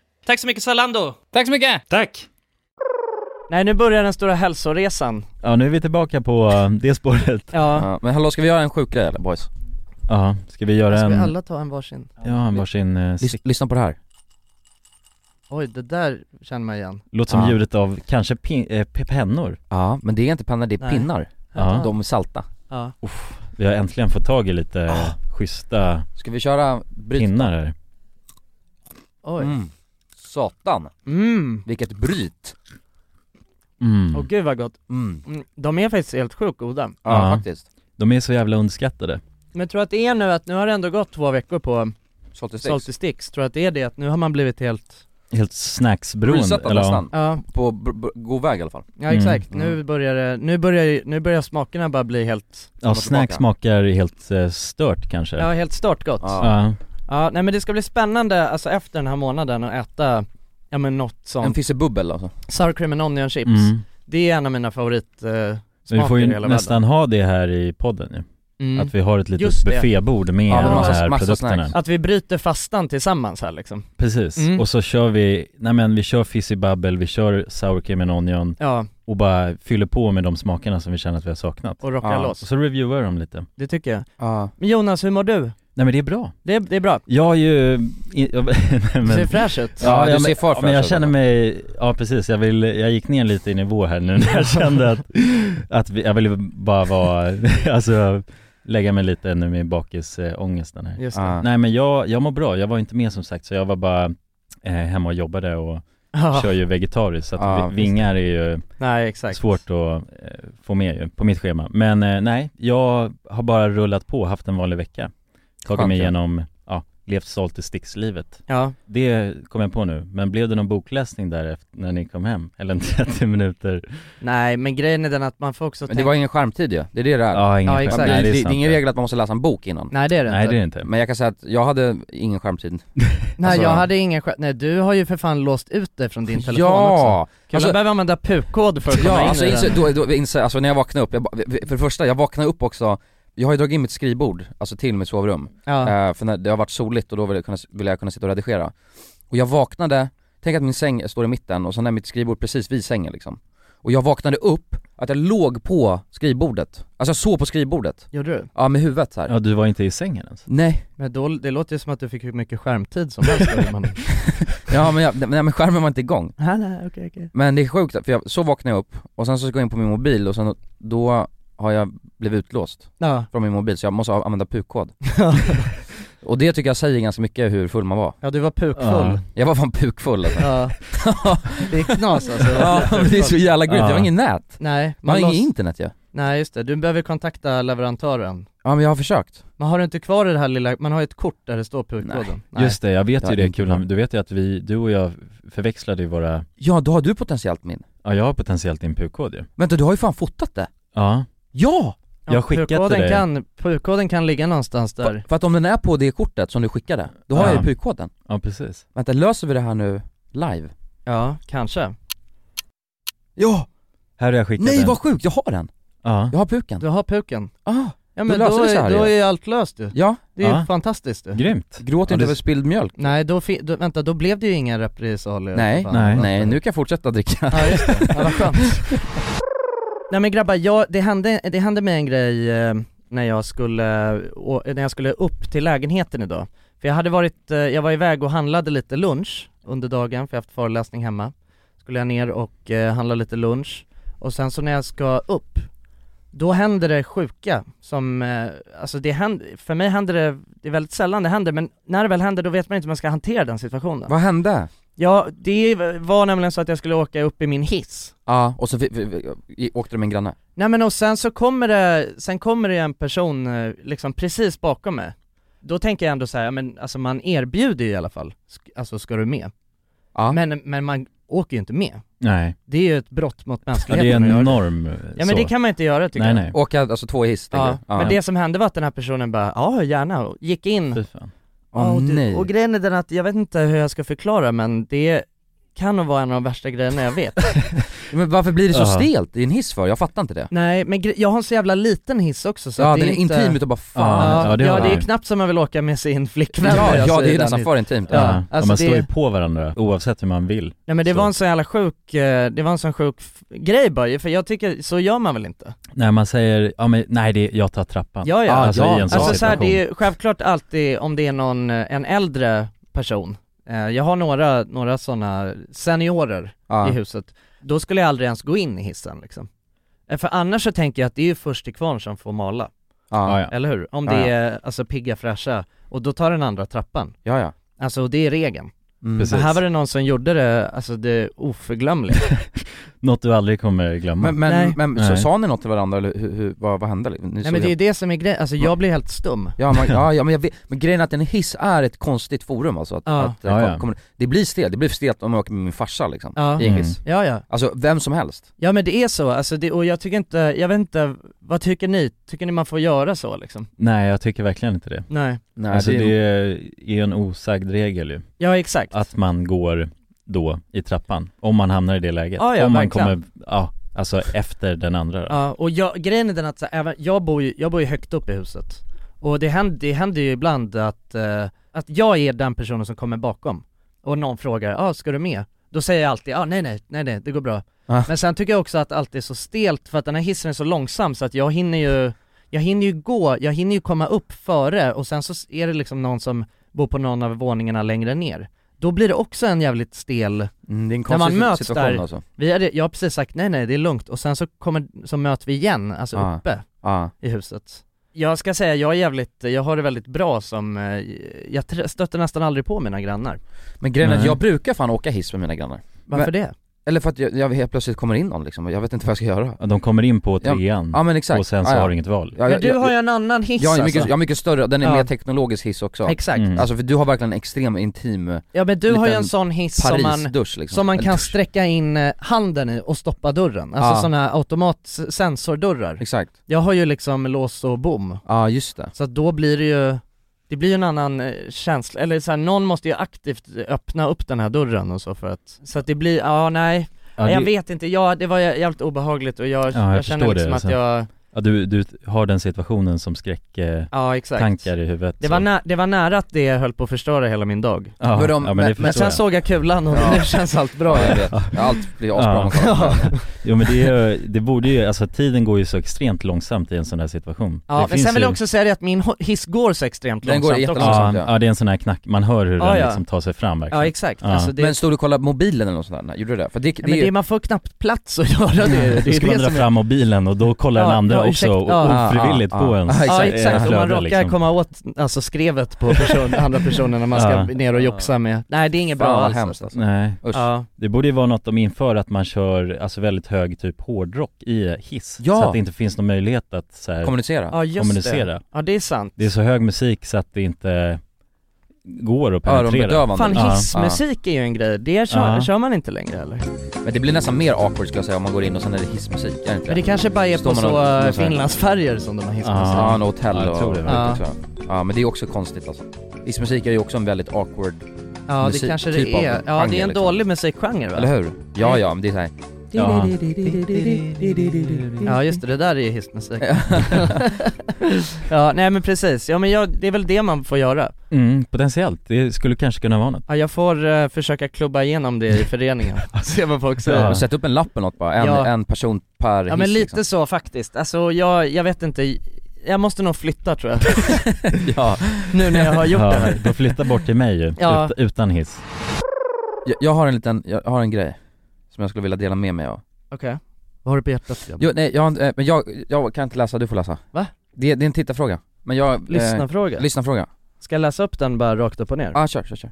Speaker 1: Tack så mycket Zalando!
Speaker 6: Tack så mycket!
Speaker 7: tack!
Speaker 1: Nej, nu börjar den stora hälsoresan.
Speaker 4: Ja nu är vi tillbaka på eh, det spåret.
Speaker 1: Ja.
Speaker 2: Ja, men hallå, ska vi göra en sjuk grej eller boys?
Speaker 4: Ja,
Speaker 3: Mm.
Speaker 4: ska vi göra en,
Speaker 1: ta en varsin?
Speaker 4: ja en varsin eh,
Speaker 2: Lys- lyssna på det här.
Speaker 4: Oj, det där känner man igen
Speaker 3: Låter som
Speaker 2: Ja.
Speaker 3: ljudet av kanske pin, eh, pe- pennor
Speaker 2: Ja, men det är inte pennor, det är
Speaker 4: Nej.
Speaker 2: pinnar.
Speaker 3: Ja.
Speaker 2: De är salta.
Speaker 4: Ja,
Speaker 3: Vi har äntligen fått tag i lite
Speaker 2: Ah.
Speaker 3: schyssta
Speaker 2: Ska vi köra bryt?
Speaker 3: pinnar här
Speaker 4: oj Mm,
Speaker 2: Mm. Satan,
Speaker 4: mm.
Speaker 2: vilket bryt!
Speaker 3: mm.
Speaker 4: och gud vad gott
Speaker 2: Mm.
Speaker 4: mm. De är faktiskt helt sjukt goda
Speaker 2: Ja,
Speaker 3: Ja.
Speaker 2: faktiskt.
Speaker 3: De är så jävla underskattade
Speaker 4: Men tror att det är nu att, nu har det ändå gått två veckor på
Speaker 2: Salty sticks.
Speaker 4: Salty Sticks, tror att det är det att nu har man blivit helt
Speaker 3: Helt snacksberoende
Speaker 2: Resetat nästan.
Speaker 4: Ja,
Speaker 2: På b- b- god väg i alla fall.
Speaker 4: ja
Speaker 3: Mm.
Speaker 4: exakt,
Speaker 2: Mm.
Speaker 4: nu börjar det, nu börjar, ju- nu börjar smakerna bara bli helt,
Speaker 3: Ja,
Speaker 2: Komma
Speaker 3: snack
Speaker 2: tillbaka.
Speaker 3: smakar helt eh, stört kanske
Speaker 4: ja helt startgott
Speaker 2: Ja.
Speaker 3: Ja.
Speaker 4: Ja, nej men det ska bli spännande, alltså efter den här månaden att äta, ja men något
Speaker 2: En
Speaker 4: sånt
Speaker 2: fissebubbel alltså.
Speaker 4: Sour cream and onion chips,
Speaker 3: Mm.
Speaker 4: det är en av mina favorit eh,
Speaker 3: Men vi får
Speaker 4: smaker i
Speaker 3: ju
Speaker 4: hela världen
Speaker 3: nästan ha det här i podden ju.
Speaker 4: mm.
Speaker 3: Att vi har ett litet
Speaker 4: Just det.
Speaker 3: buffébord med
Speaker 2: Ja,
Speaker 4: men
Speaker 3: de
Speaker 4: massa-
Speaker 3: här
Speaker 2: massa
Speaker 3: produkterna.
Speaker 2: snacks.
Speaker 4: Att vi bryter fastan tillsammans här liksom
Speaker 3: Precis.
Speaker 4: Mm.
Speaker 3: Och så kör vi, nej men vi kör fizzy bubble, vi kör sour cream and onion
Speaker 4: Ja,
Speaker 3: och bara fyller på med de smakerna som vi känner att vi har saknat.
Speaker 4: och rockar
Speaker 2: Ja.
Speaker 3: Och
Speaker 4: loss,
Speaker 3: så reviewar vi dem lite.
Speaker 4: det tycker jag
Speaker 2: Ja.
Speaker 4: Men Jonas, hur mår du?
Speaker 3: Nej men det är bra.
Speaker 4: Det är, det är bra,
Speaker 3: Jag har ju, i- <laughs> jag, nej,
Speaker 4: du
Speaker 3: men,
Speaker 4: ser fräsch ut
Speaker 2: Ja, du
Speaker 3: ja,
Speaker 2: ser
Speaker 3: men,
Speaker 2: för
Speaker 3: ja, men
Speaker 2: fräsch
Speaker 3: jag
Speaker 2: ut, eller?
Speaker 3: känner mig, ja precis, jag vill, jag gick ner lite i nivå här
Speaker 2: <laughs>
Speaker 3: nu när jag kände att, att vi, jag ville bara vara, <laughs> alltså lägga mig lite nu med bakisångesten här.
Speaker 4: Just det.
Speaker 2: Ja.
Speaker 3: Nej men jag, jag mår bra, jag var inte med som sagt så jag var bara eh, hemma och jobbade och
Speaker 2: Ah.
Speaker 4: Ja,
Speaker 3: kör ju vegetariskt så att
Speaker 2: Ja,
Speaker 3: vi-
Speaker 2: visst.
Speaker 3: vingar är ju
Speaker 4: nej exakt
Speaker 3: svårt att eh, få med ju på mitt schema Men eh, nej, jag har bara rullat på, haft en vanlig vecka Tagit
Speaker 2: Skönt,
Speaker 3: mig
Speaker 2: ja.
Speaker 3: igenom, ja, levt salt i stickslivet
Speaker 4: Ja,
Speaker 3: Det kom jag på nu, men blev det någon bokläsning där efter, när ni kom hem? Eller en <laughs> 30 minuter?
Speaker 4: nej men grejen är den att man får också
Speaker 2: Men det
Speaker 4: tänka
Speaker 2: var ingen skärmtid ju, det är det det är.
Speaker 3: Ja, ingen
Speaker 4: Ja,
Speaker 3: skämt.
Speaker 4: exakt.
Speaker 2: det,
Speaker 3: Nej,
Speaker 2: det,
Speaker 3: det
Speaker 2: det
Speaker 3: är
Speaker 2: är ingen
Speaker 3: sant.
Speaker 2: regel att man måste läsa en bok innan.
Speaker 4: Nej det är det
Speaker 3: Nej
Speaker 4: inte
Speaker 3: det är det inte
Speaker 2: Men jag kan säga att jag hade ingen skärmtid.
Speaker 4: Nej
Speaker 2: Alltså-
Speaker 4: jag hade ingen skämt, nej du har ju för fan låst ut dig från din telefon också
Speaker 2: ja!
Speaker 4: Kul, alltså,
Speaker 2: Alltså-
Speaker 4: behöver använda pukkod för att komma
Speaker 2: Ja,
Speaker 4: in
Speaker 2: alltså,
Speaker 4: i
Speaker 2: inse,
Speaker 4: den
Speaker 2: då, då, inse, alltså när jag vaknade upp, jag, bara- för det första, jag vaknade upp också, jag har ju dragit in mitt skrivbord, alltså till mitt sovrum,
Speaker 4: ja.
Speaker 2: Eh, för när det har varit soligt och då vill jag, kunna, vill jag kunna sitta och redigera. Och jag vaknade, tänk att min säng står i mitten och sen är mitt skrivbord precis vid sängen liksom. Och jag vaknade upp, att jag låg på skrivbordet, alltså jag sov på skrivbordet,
Speaker 4: Gjorde du?
Speaker 2: ja med huvudet så här.
Speaker 3: Ja du var inte i sängen ens?
Speaker 2: Nej,
Speaker 4: Men då, det låter ju som att du fick hur mycket skärmtid som helst när man...
Speaker 2: ja men, jag, nej, men skärmen var inte igång.
Speaker 4: Nej nej okej okej
Speaker 2: Men det är sjukt, för jag, så vaknade jag upp och sen så ska jag in på min mobil och sen då har jag blivit utlåst
Speaker 4: Ja,
Speaker 2: från min mobil så jag måste använda
Speaker 3: <laughs>
Speaker 2: pukkod. och det tycker jag säger ganska mycket hur full man var.
Speaker 4: ja du var
Speaker 3: Ja.
Speaker 4: pukfull
Speaker 2: Jag var fan pukfull alltså. <laughs>
Speaker 4: Ja, det är knas alltså
Speaker 2: Ja <laughs> men det är så jävla grymt, jag
Speaker 3: Ja.
Speaker 2: har ingen nät.
Speaker 4: Nej,
Speaker 2: Man har
Speaker 4: lås-
Speaker 2: inget internet ju. Ja.
Speaker 4: Nej just det, du behöver kontakta leverantören
Speaker 2: ja men jag har försökt.
Speaker 4: Man har du inte kvar det här lilla, man har ju ett kort där det står pukkoden Nej.
Speaker 3: Just det, jag vet
Speaker 2: Jag
Speaker 3: ju
Speaker 2: har
Speaker 3: det
Speaker 2: inte
Speaker 3: Kulan,
Speaker 2: hört.
Speaker 3: du vet ju att vi, du och jag förväxlade ju våra,
Speaker 2: Ja då har du potentiellt min.
Speaker 3: ja jag har potentiellt din pukkod ju
Speaker 2: Vänta du har ju fan fotat det.
Speaker 3: Ja,
Speaker 2: Ja!
Speaker 4: Ja,
Speaker 3: jag skickar till
Speaker 4: pukkoden
Speaker 3: dig.
Speaker 4: kan, pukkoden kan ligga någonstans där
Speaker 2: För, för att om den är på det kortet som du skickade, då har
Speaker 3: Ja.
Speaker 2: jag ju pukkoden.
Speaker 3: ja precis
Speaker 2: Vänta löser vi det här nu live?
Speaker 4: Ja, kanske
Speaker 2: Ja!
Speaker 3: Här har jag skickat
Speaker 2: Nej
Speaker 3: den.
Speaker 2: vad sjukt, jag har den!
Speaker 3: Ja,
Speaker 2: Jag har puken.
Speaker 4: Du har puken
Speaker 2: Ah,
Speaker 4: Ja men då,
Speaker 2: löser vi så
Speaker 4: är,
Speaker 2: här
Speaker 4: då
Speaker 2: ju.
Speaker 4: är allt löst du
Speaker 2: ja.
Speaker 4: Det är
Speaker 3: Ja.
Speaker 4: ju fantastiskt du
Speaker 3: grymt
Speaker 2: Gråt
Speaker 3: Ja,
Speaker 2: inte
Speaker 3: det-
Speaker 2: över spilld mjölk.
Speaker 4: Nej då, fi- då, vänta då blev det ju inga repressalier
Speaker 2: Nej,
Speaker 4: Fan,
Speaker 3: nej.
Speaker 4: vad-
Speaker 2: Nej, nu kan jag fortsätta
Speaker 4: <laughs>
Speaker 2: dricka.
Speaker 4: Ja just det, ja, vad skönt Nej men grabbar, jag, det, hände, det hände mig en grej eh, när jag skulle, å- när jag skulle upp till lägenheten idag För jag hade varit, eh, jag var iväg och handlade lite lunch under dagen, för jag har haft föreläsning hemma Skulle jag ner och eh, handla lite lunch, och sen så när jag ska upp då händer det sjuka som, eh, alltså det händer, för mig händer det, det är väldigt sällan det händer men när det väl händer då vet man inte hur man ska hantera den situationen
Speaker 2: Vad hände?
Speaker 4: Ja, det var nämligen så att jag skulle åka upp i min hiss
Speaker 2: Ja, och så fi- fi- i- åkte du med en granne.
Speaker 4: Nej men och sen så kommer det, sen kommer det en person eh, liksom precis bakom mig Då tänker jag ändå så här, ja, men alltså man erbjuder ju i alla fall, Sk- alltså ska du med?
Speaker 2: Ja.
Speaker 4: Men, men man åker ju inte med
Speaker 3: Nej,
Speaker 4: Det är ju ett brott mot
Speaker 3: ja, det
Speaker 4: mänskligheten
Speaker 3: är en
Speaker 4: att göra det.
Speaker 3: norm
Speaker 4: Ja men det kan man inte göra tycker
Speaker 3: Nej
Speaker 4: jag
Speaker 3: nej,
Speaker 2: Åka alltså två i hiss, tänker
Speaker 4: Ja,
Speaker 2: du? ja.
Speaker 4: men det som hände var att den här personen bara, ja gärna, och gick in
Speaker 3: fy fan
Speaker 4: Ja,
Speaker 2: Åh
Speaker 4: och, det-
Speaker 2: nej.
Speaker 4: och grejen är den att jag vet inte hur jag ska förklara men det kan nog vara en av de värsta grejerna jag vet
Speaker 2: Men varför blir det så
Speaker 3: Ja.
Speaker 2: stelt i en hiss för? Jag fattar inte det.
Speaker 4: Nej men gre- jag har en så jävla liten hiss också så
Speaker 2: ja,
Speaker 4: att det
Speaker 2: den är
Speaker 4: inte...
Speaker 2: intim utav bara fan.
Speaker 4: Ja,
Speaker 3: Ja,
Speaker 4: ja, det,
Speaker 3: det har jag.
Speaker 4: är knappt som man vill åka med sin flickvän
Speaker 2: Ja,
Speaker 4: alltså,
Speaker 2: ja
Speaker 4: i
Speaker 2: det är
Speaker 4: den
Speaker 2: nästan
Speaker 4: hit-
Speaker 2: för intimt.
Speaker 4: Ja,
Speaker 3: Ja,
Speaker 4: alltså
Speaker 3: ja man
Speaker 4: det-
Speaker 3: står ju på varandra oavsett hur man vill
Speaker 4: Nej men det
Speaker 3: Så.
Speaker 4: var en sån jävla sjuk, eh, det var en sån sjuk f- grej bara ju, för jag tycker, så gör man väl inte?
Speaker 3: När man säger, ja men nej det, jag tar trappan
Speaker 4: Ja ja,
Speaker 2: Ah,
Speaker 3: Alltså
Speaker 2: ja.
Speaker 3: i en sån
Speaker 4: alltså så här,
Speaker 3: situation
Speaker 4: det är ju självklart alltid om det är någon, eh, en äldre person Eh, Jag har några, några sådana seniorer
Speaker 2: Ja.
Speaker 4: i huset. Då skulle jag aldrig ens gå in i hissen liksom. Eh, För annars så tänker jag att det är ju först till kvarn som får mala,
Speaker 2: Ja, ja.
Speaker 3: Ja, ja.
Speaker 4: eller hur? Om det
Speaker 2: Ja, ja.
Speaker 4: är alltså pigga fräscha, och då tar den andra trappan.
Speaker 2: ja, ja.
Speaker 4: Alltså och det är regeln.
Speaker 2: Mm.
Speaker 3: Precis.
Speaker 4: Så här var det någon som gjorde det, alltså det oförglömliga.
Speaker 3: Något du aldrig kommer glömma
Speaker 2: Men,
Speaker 4: Nej.
Speaker 2: men, men så
Speaker 3: Nej.
Speaker 2: sa ni något till varandra eller hur, hur, vad, vad hände? Ni
Speaker 4: Nej
Speaker 2: såg
Speaker 4: men det är
Speaker 2: det-
Speaker 4: ju det som är grejen, alltså jag blir helt stum.
Speaker 2: Ja, man, ja, ja men, jag vet, men grejen är att en hiss är ett konstigt forum alltså, att,
Speaker 4: Ja.
Speaker 2: att,
Speaker 3: Ja, ja.
Speaker 2: Kommer, det blir stelt, det blir stelt om jag åker med min farsa liksom,
Speaker 4: Ja.
Speaker 2: i en hiss
Speaker 3: Mm.
Speaker 4: Ja ja,
Speaker 2: Alltså vem som helst
Speaker 4: ja men det är så, alltså det, och jag tycker inte, jag vet inte, vad tycker ni? Tycker ni man får göra så liksom?
Speaker 3: Nej jag tycker verkligen inte det
Speaker 4: Nej.
Speaker 2: Nej,
Speaker 3: Alltså det är ju en osagd regel ju
Speaker 4: Ja exakt.
Speaker 3: Att man går då i trappan, om man hamnar i det läget
Speaker 4: Ja, ja,
Speaker 3: Om man
Speaker 4: verkligen.
Speaker 3: kommer, ja, alltså efter den andra då.
Speaker 4: Ja, och jag, grejen är den att så, här, även, jag, bor ju, jag bor ju högt upp i huset Och det händer, det händer ju ibland att, eh, att jag är den personen som kommer bakom Och någon frågar, ah, ska du med? Då säger jag alltid, ah, nej nej, nej nej, det går bra
Speaker 2: Ah.
Speaker 4: Men sen tycker jag också att allt är så stelt för att den här hissen är så långsam så att jag hinner ju Jag hinner ju gå, jag hinner ju komma upp före och sen så är det liksom någon som bor på någon av våningarna längre ner Då blir det också en jävligt stel
Speaker 2: Mm, det är en
Speaker 4: när man
Speaker 2: konstig
Speaker 4: möts
Speaker 2: situation
Speaker 4: där-
Speaker 2: alltså
Speaker 4: vi hade, jag har precis sagt nej nej det är lugnt och sen så kommer, så möter vi igen, alltså
Speaker 2: Ah.
Speaker 4: uppe
Speaker 2: ja.
Speaker 4: i huset Jag ska säga, jag är jävligt, jag har det väldigt bra som, eh, jag tr- stöter nästan aldrig på mina grannar
Speaker 2: Men grejen är att
Speaker 3: Nej.
Speaker 2: jag brukar fan åka hiss med mina grannar
Speaker 4: Varför
Speaker 2: Men-
Speaker 4: det?
Speaker 2: Eller för att jag, jag helt plötsligt kommer in någon liksom, och jag vet inte vad jag ska göra
Speaker 3: Ja, De kommer in på trean
Speaker 2: Ja men exakt
Speaker 3: Mm. och sen så
Speaker 2: ja, ja.
Speaker 3: har du inget val
Speaker 2: ja,
Speaker 4: Men
Speaker 2: jag,
Speaker 4: du har
Speaker 2: jag,
Speaker 4: ju en annan hiss
Speaker 2: jag, är mycket,
Speaker 4: alltså.
Speaker 2: jag är mycket större, den är
Speaker 4: Ja.
Speaker 2: mer teknologisk hiss också
Speaker 4: Exakt,
Speaker 3: Mm.
Speaker 2: Alltså för du har verkligen en extrem intim
Speaker 4: ja men du har ju en
Speaker 2: Liten
Speaker 4: sån hiss som man,
Speaker 2: Paris-dusch liksom
Speaker 4: som man
Speaker 2: En
Speaker 4: kan
Speaker 2: dusch.
Speaker 4: sträcka in eh, handen i och stoppa dörren, alltså
Speaker 2: Ah.
Speaker 4: såna här automatsensordörrar
Speaker 2: Exakt,
Speaker 4: Jag har ju liksom lås och bom,
Speaker 2: ja just det
Speaker 4: så att då blir det ju det blir ju en annan eh, känsla, eller så här, någon måste ju aktivt öppna upp den här dörren och så för att, så att det blir, ja nej,
Speaker 3: Ja,
Speaker 4: Nej, jag
Speaker 3: det-
Speaker 4: vet inte, ja det var jä- jävligt obehagligt och jag,
Speaker 3: jag
Speaker 4: jag, känner
Speaker 3: förstår det,
Speaker 4: liksom
Speaker 3: alltså.
Speaker 4: att jag,
Speaker 3: ja, du, du har den situationen som skräcktankar
Speaker 4: ja exakt
Speaker 3: i huvudet
Speaker 4: det var,
Speaker 3: så.
Speaker 4: nä, det var nära att det höll på att förstöra hela min dag
Speaker 3: ja,
Speaker 2: Men de-
Speaker 3: ja, men,
Speaker 2: men-
Speaker 3: det
Speaker 4: Men
Speaker 3: förstår
Speaker 4: sen
Speaker 3: jag.
Speaker 4: såg jag kulan och
Speaker 2: Ja.
Speaker 4: nu känns allt bra
Speaker 2: Ja jag vet, Ja, allt
Speaker 3: <laughs>
Speaker 2: blir asbra om man kollar på det.
Speaker 4: Ja,
Speaker 3: Jo men det, är, ju- det borde ju, alltså tiden går ju så extremt långsamt i en sån här situation
Speaker 4: ja
Speaker 3: det
Speaker 4: men
Speaker 3: finns
Speaker 4: sen vill
Speaker 3: ju-
Speaker 4: jag också säga det att min ho- hiss går så extremt
Speaker 2: Den går
Speaker 4: långsamt
Speaker 2: jättelångsamt.
Speaker 4: också
Speaker 3: ja,
Speaker 2: långsamt, ja.
Speaker 3: ja, det är en sån här knack, man hör hur
Speaker 4: Ja,
Speaker 3: den
Speaker 4: ja.
Speaker 3: liksom tar sig fram verkligen
Speaker 4: Ja exakt,
Speaker 3: Ja.
Speaker 4: alltså det,
Speaker 2: Men stod du och kollade mobilen eller något sånt där? Nej, Gjorde du det? För det, det,
Speaker 4: nej, men
Speaker 2: är ju-
Speaker 4: det är, man får knappt plats att göra det, det är
Speaker 3: Då ska man
Speaker 4: det
Speaker 3: dra
Speaker 4: som är-
Speaker 3: fram mobilen och då kollar
Speaker 4: Ja,
Speaker 3: den andra
Speaker 4: ja,
Speaker 3: också och
Speaker 4: ursäkta. Ja.
Speaker 3: ofrivilligt
Speaker 2: Ja,
Speaker 3: på
Speaker 2: ja,
Speaker 3: en
Speaker 2: ja,
Speaker 4: Ja
Speaker 2: exakt.
Speaker 4: exakt, om
Speaker 3: Flöde,
Speaker 4: man råkar
Speaker 3: liksom.
Speaker 4: komma åt alltså, skrevet på person, andra personer när man ska
Speaker 3: Ja.
Speaker 4: ner och joxa med Nej det är inget
Speaker 2: Fan,
Speaker 4: bra
Speaker 2: vad
Speaker 4: alls
Speaker 2: hemskt alltså.
Speaker 3: Nej,
Speaker 2: Usch.
Speaker 4: Ja,
Speaker 3: det borde ju vara något de inför att man kör alltså väldigt hög typ hårdrock i hiss
Speaker 2: Ja.
Speaker 3: Så att det inte finns någon möjlighet att så här,
Speaker 2: Kommunicera?
Speaker 4: ja just det,
Speaker 3: kommunicera
Speaker 4: ja det är sant
Speaker 3: Det är så hög musik så att det inte går att penetrera
Speaker 2: Öronbedövande liksom.
Speaker 4: Fan
Speaker 3: Ja,
Speaker 4: hissmusik är ju en grej, det kör,
Speaker 3: Ja.
Speaker 4: kör man inte längre eller?
Speaker 2: Men det blir nästan mer awkward ska jag säga om man går in och sen är det hissmusik, är det inte
Speaker 4: Men det kanske bara är
Speaker 2: Står
Speaker 4: på
Speaker 2: man och-
Speaker 4: så
Speaker 2: och så här-
Speaker 4: eh, finlandsfärger som de har hissmusik
Speaker 2: Ja, en hotell
Speaker 3: Ja, jag
Speaker 2: och...
Speaker 3: tror det,
Speaker 4: verkligen.
Speaker 2: tror jag. ja men det är också konstigt alltså Hissmusik är ju också en väldigt awkward,
Speaker 4: Ja det
Speaker 2: musik-
Speaker 4: kanske
Speaker 2: typ
Speaker 4: det
Speaker 2: av
Speaker 4: är, ja det är
Speaker 2: genre,
Speaker 4: en
Speaker 2: liksom.
Speaker 4: dålig musikgenre va?
Speaker 2: eller hur? Ja ja, men det är såhär
Speaker 3: Ja.
Speaker 4: Ja just det, det där är ju hissmusik <laughs> Ja nej men precis, ja men jag, det är väl det man får göra
Speaker 3: mm, Potentiellt, det skulle kanske kunna vara något
Speaker 4: Ja jag får eh, försöka klubba igenom det
Speaker 2: <laughs>
Speaker 4: i föreningen, se vad folk säger
Speaker 3: Ja.
Speaker 2: och sätt upp en lapp eller något bara, en,
Speaker 4: Ja.
Speaker 2: en person per
Speaker 4: Ja men
Speaker 2: hiss,
Speaker 4: lite
Speaker 2: liksom.
Speaker 4: så faktiskt, alltså jag, jag vet inte, jag måste nog flytta tror jag,
Speaker 2: <laughs> ja.
Speaker 4: nu när jag har gjort det
Speaker 3: ja,
Speaker 4: här
Speaker 3: De flyttar bort till mig ju,
Speaker 4: Ja.
Speaker 3: ut, utan hiss
Speaker 2: jag, jag har en liten, jag har en grej som jag skulle vilja dela med mig av
Speaker 4: Okej, vad har du på hjärtat? Grabben?
Speaker 2: Jo, nej, jag, har inte- eh, men jag, jag kan inte läsa, du får läsa
Speaker 4: Va?
Speaker 2: Det, det är en tittarfråga, men jag... Eh,
Speaker 4: Lyssnarfråga?
Speaker 2: lyssnarfråga?
Speaker 4: Ska jag läsa upp den bara rakt upp och ner?
Speaker 2: Ja, ah, kör, kör, kör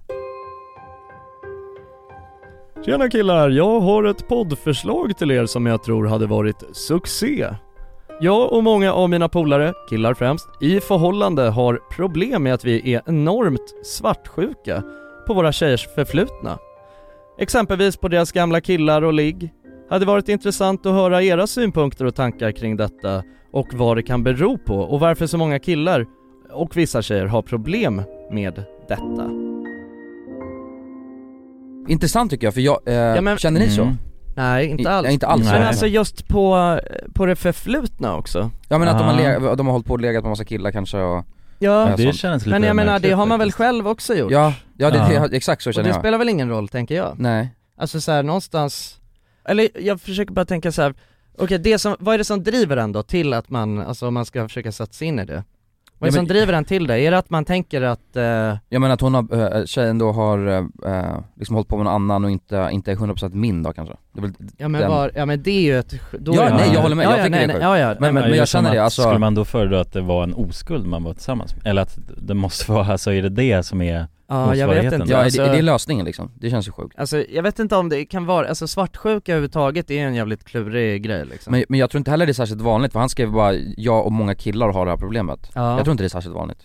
Speaker 4: Tjena killar, jag har ett poddförslag till er som jag tror hade varit succé. Jag och många av mina polare, killar främst, i förhållande har problem med att vi är enormt svartsjuka på våra tjejers förflutna. Exempelvis på deras gamla killar och ligg. Hade varit intressant att höra era synpunkter och tankar kring detta och vad det kan bero på och varför så många killar och vissa tjejer har problem med detta.
Speaker 2: Intressant tycker jag, för jag, eh,
Speaker 4: men-
Speaker 2: känner ni så?
Speaker 3: Mm.
Speaker 4: Nej,
Speaker 2: I-
Speaker 4: inte alls.
Speaker 2: Inte alls
Speaker 3: Nej.
Speaker 4: Men
Speaker 2: Nej.
Speaker 4: alltså just på, på det förflutna också.
Speaker 2: Ja men att de har,
Speaker 3: Aha.
Speaker 4: Ah.
Speaker 2: le- de har hållt på och legat med massa killar kanske och...
Speaker 4: Ja,
Speaker 2: Ja,
Speaker 3: Det
Speaker 2: sånt.
Speaker 3: känns lite
Speaker 4: men jag menar det har man väl
Speaker 3: märkligt
Speaker 4: själv också gjort?
Speaker 2: Ja, ja, det,
Speaker 3: Ja.
Speaker 2: det, har- exakt så
Speaker 4: Och
Speaker 2: känner
Speaker 4: det
Speaker 2: jag
Speaker 4: spelar väl ingen roll tänker jag.
Speaker 2: Nej,
Speaker 4: Alltså så här någonstans, eller jag försöker bara tänka så här. okej det som, vad är det som driver en då till att man, alltså om man ska försöka sätta sig in i det? Vad är
Speaker 2: Ja,
Speaker 4: det som
Speaker 2: men-
Speaker 4: driver den till det? Är det att man tänker att, eh,
Speaker 2: Jag menar att hon har, äh, tjejen då har eh, eh, liksom hållit på med någon annan och inte, inte är 100% min då kanske. Det är väl,
Speaker 4: ja men
Speaker 2: Den-
Speaker 4: var, ja men det är ju ett, då
Speaker 2: Ja,
Speaker 4: är
Speaker 3: nej, jag
Speaker 2: håller med.
Speaker 4: ja,
Speaker 2: Jag
Speaker 4: ja,
Speaker 2: tycker
Speaker 4: nej,
Speaker 2: det är
Speaker 4: nej, ja, ja, nej, men
Speaker 2: men
Speaker 3: är
Speaker 2: jag
Speaker 3: som
Speaker 2: känner det,
Speaker 3: att-
Speaker 2: alltså-
Speaker 3: Skulle man då föredra att det var en oskuld man var tillsammans med? Eller att det måste <laughs> vara, alltså är det det som är
Speaker 4: ja, jag vet
Speaker 3: motsvarigheten.
Speaker 4: inte
Speaker 2: ja, är,
Speaker 4: alltså,
Speaker 2: det, är det lösningen liksom? Det känns ju sjukt.
Speaker 4: alltså, jag vet inte om det kan vara, alltså svartsjuka överhuvudtaget är en jävligt klurig grej liksom
Speaker 2: Men, men jag tror inte heller det är särskilt vanligt för han skrev bara 'jag och många killar har det här problemet'
Speaker 4: ja.
Speaker 2: Jag tror inte det är särskilt vanligt.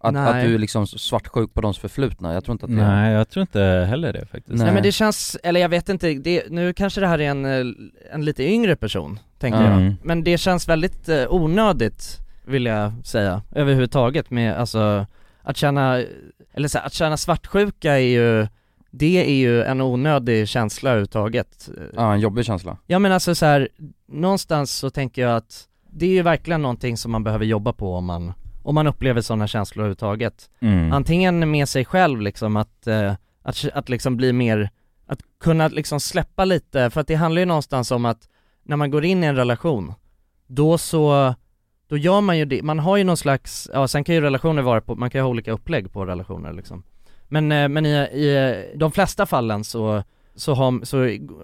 Speaker 2: Att,
Speaker 4: Nej.
Speaker 2: att du är liksom svartsjuk på deras förflutna, jag tror inte att det
Speaker 3: Nej jag tror inte heller det faktiskt
Speaker 4: Nej.
Speaker 2: Nej.
Speaker 4: men det känns, eller jag vet inte, det, nu kanske det här är en, eh, en lite yngre person, tänker
Speaker 2: Ja.
Speaker 4: jag
Speaker 3: Mm.
Speaker 4: Men det känns väldigt eh, onödigt, vill jag säga, överhuvudtaget med alltså att känna, eller så här, att känna svartsjuka är ju det är ju en onödig känsla överhuvudtaget. eh,
Speaker 2: Ja, en jobbig känsla.
Speaker 4: Jag menar alltså så här, någonstans så tänker jag att det är ju verkligen någonting som man behöver jobba på om man, om man upplever sådana känslor överhuvudtaget.
Speaker 3: Mm.
Speaker 4: Antingen med sig själv liksom att, eh, att, att liksom bli mer, att kunna liksom släppa lite, för att det handlar ju någonstans om att när man går in i en relation, då så, då gör man ju det, man har ju någon slags, ja sen kan ju relationer vara på, man kan ju ha olika upplägg på relationer liksom. Men, eh, men i, i de flesta fallen så, så, har, så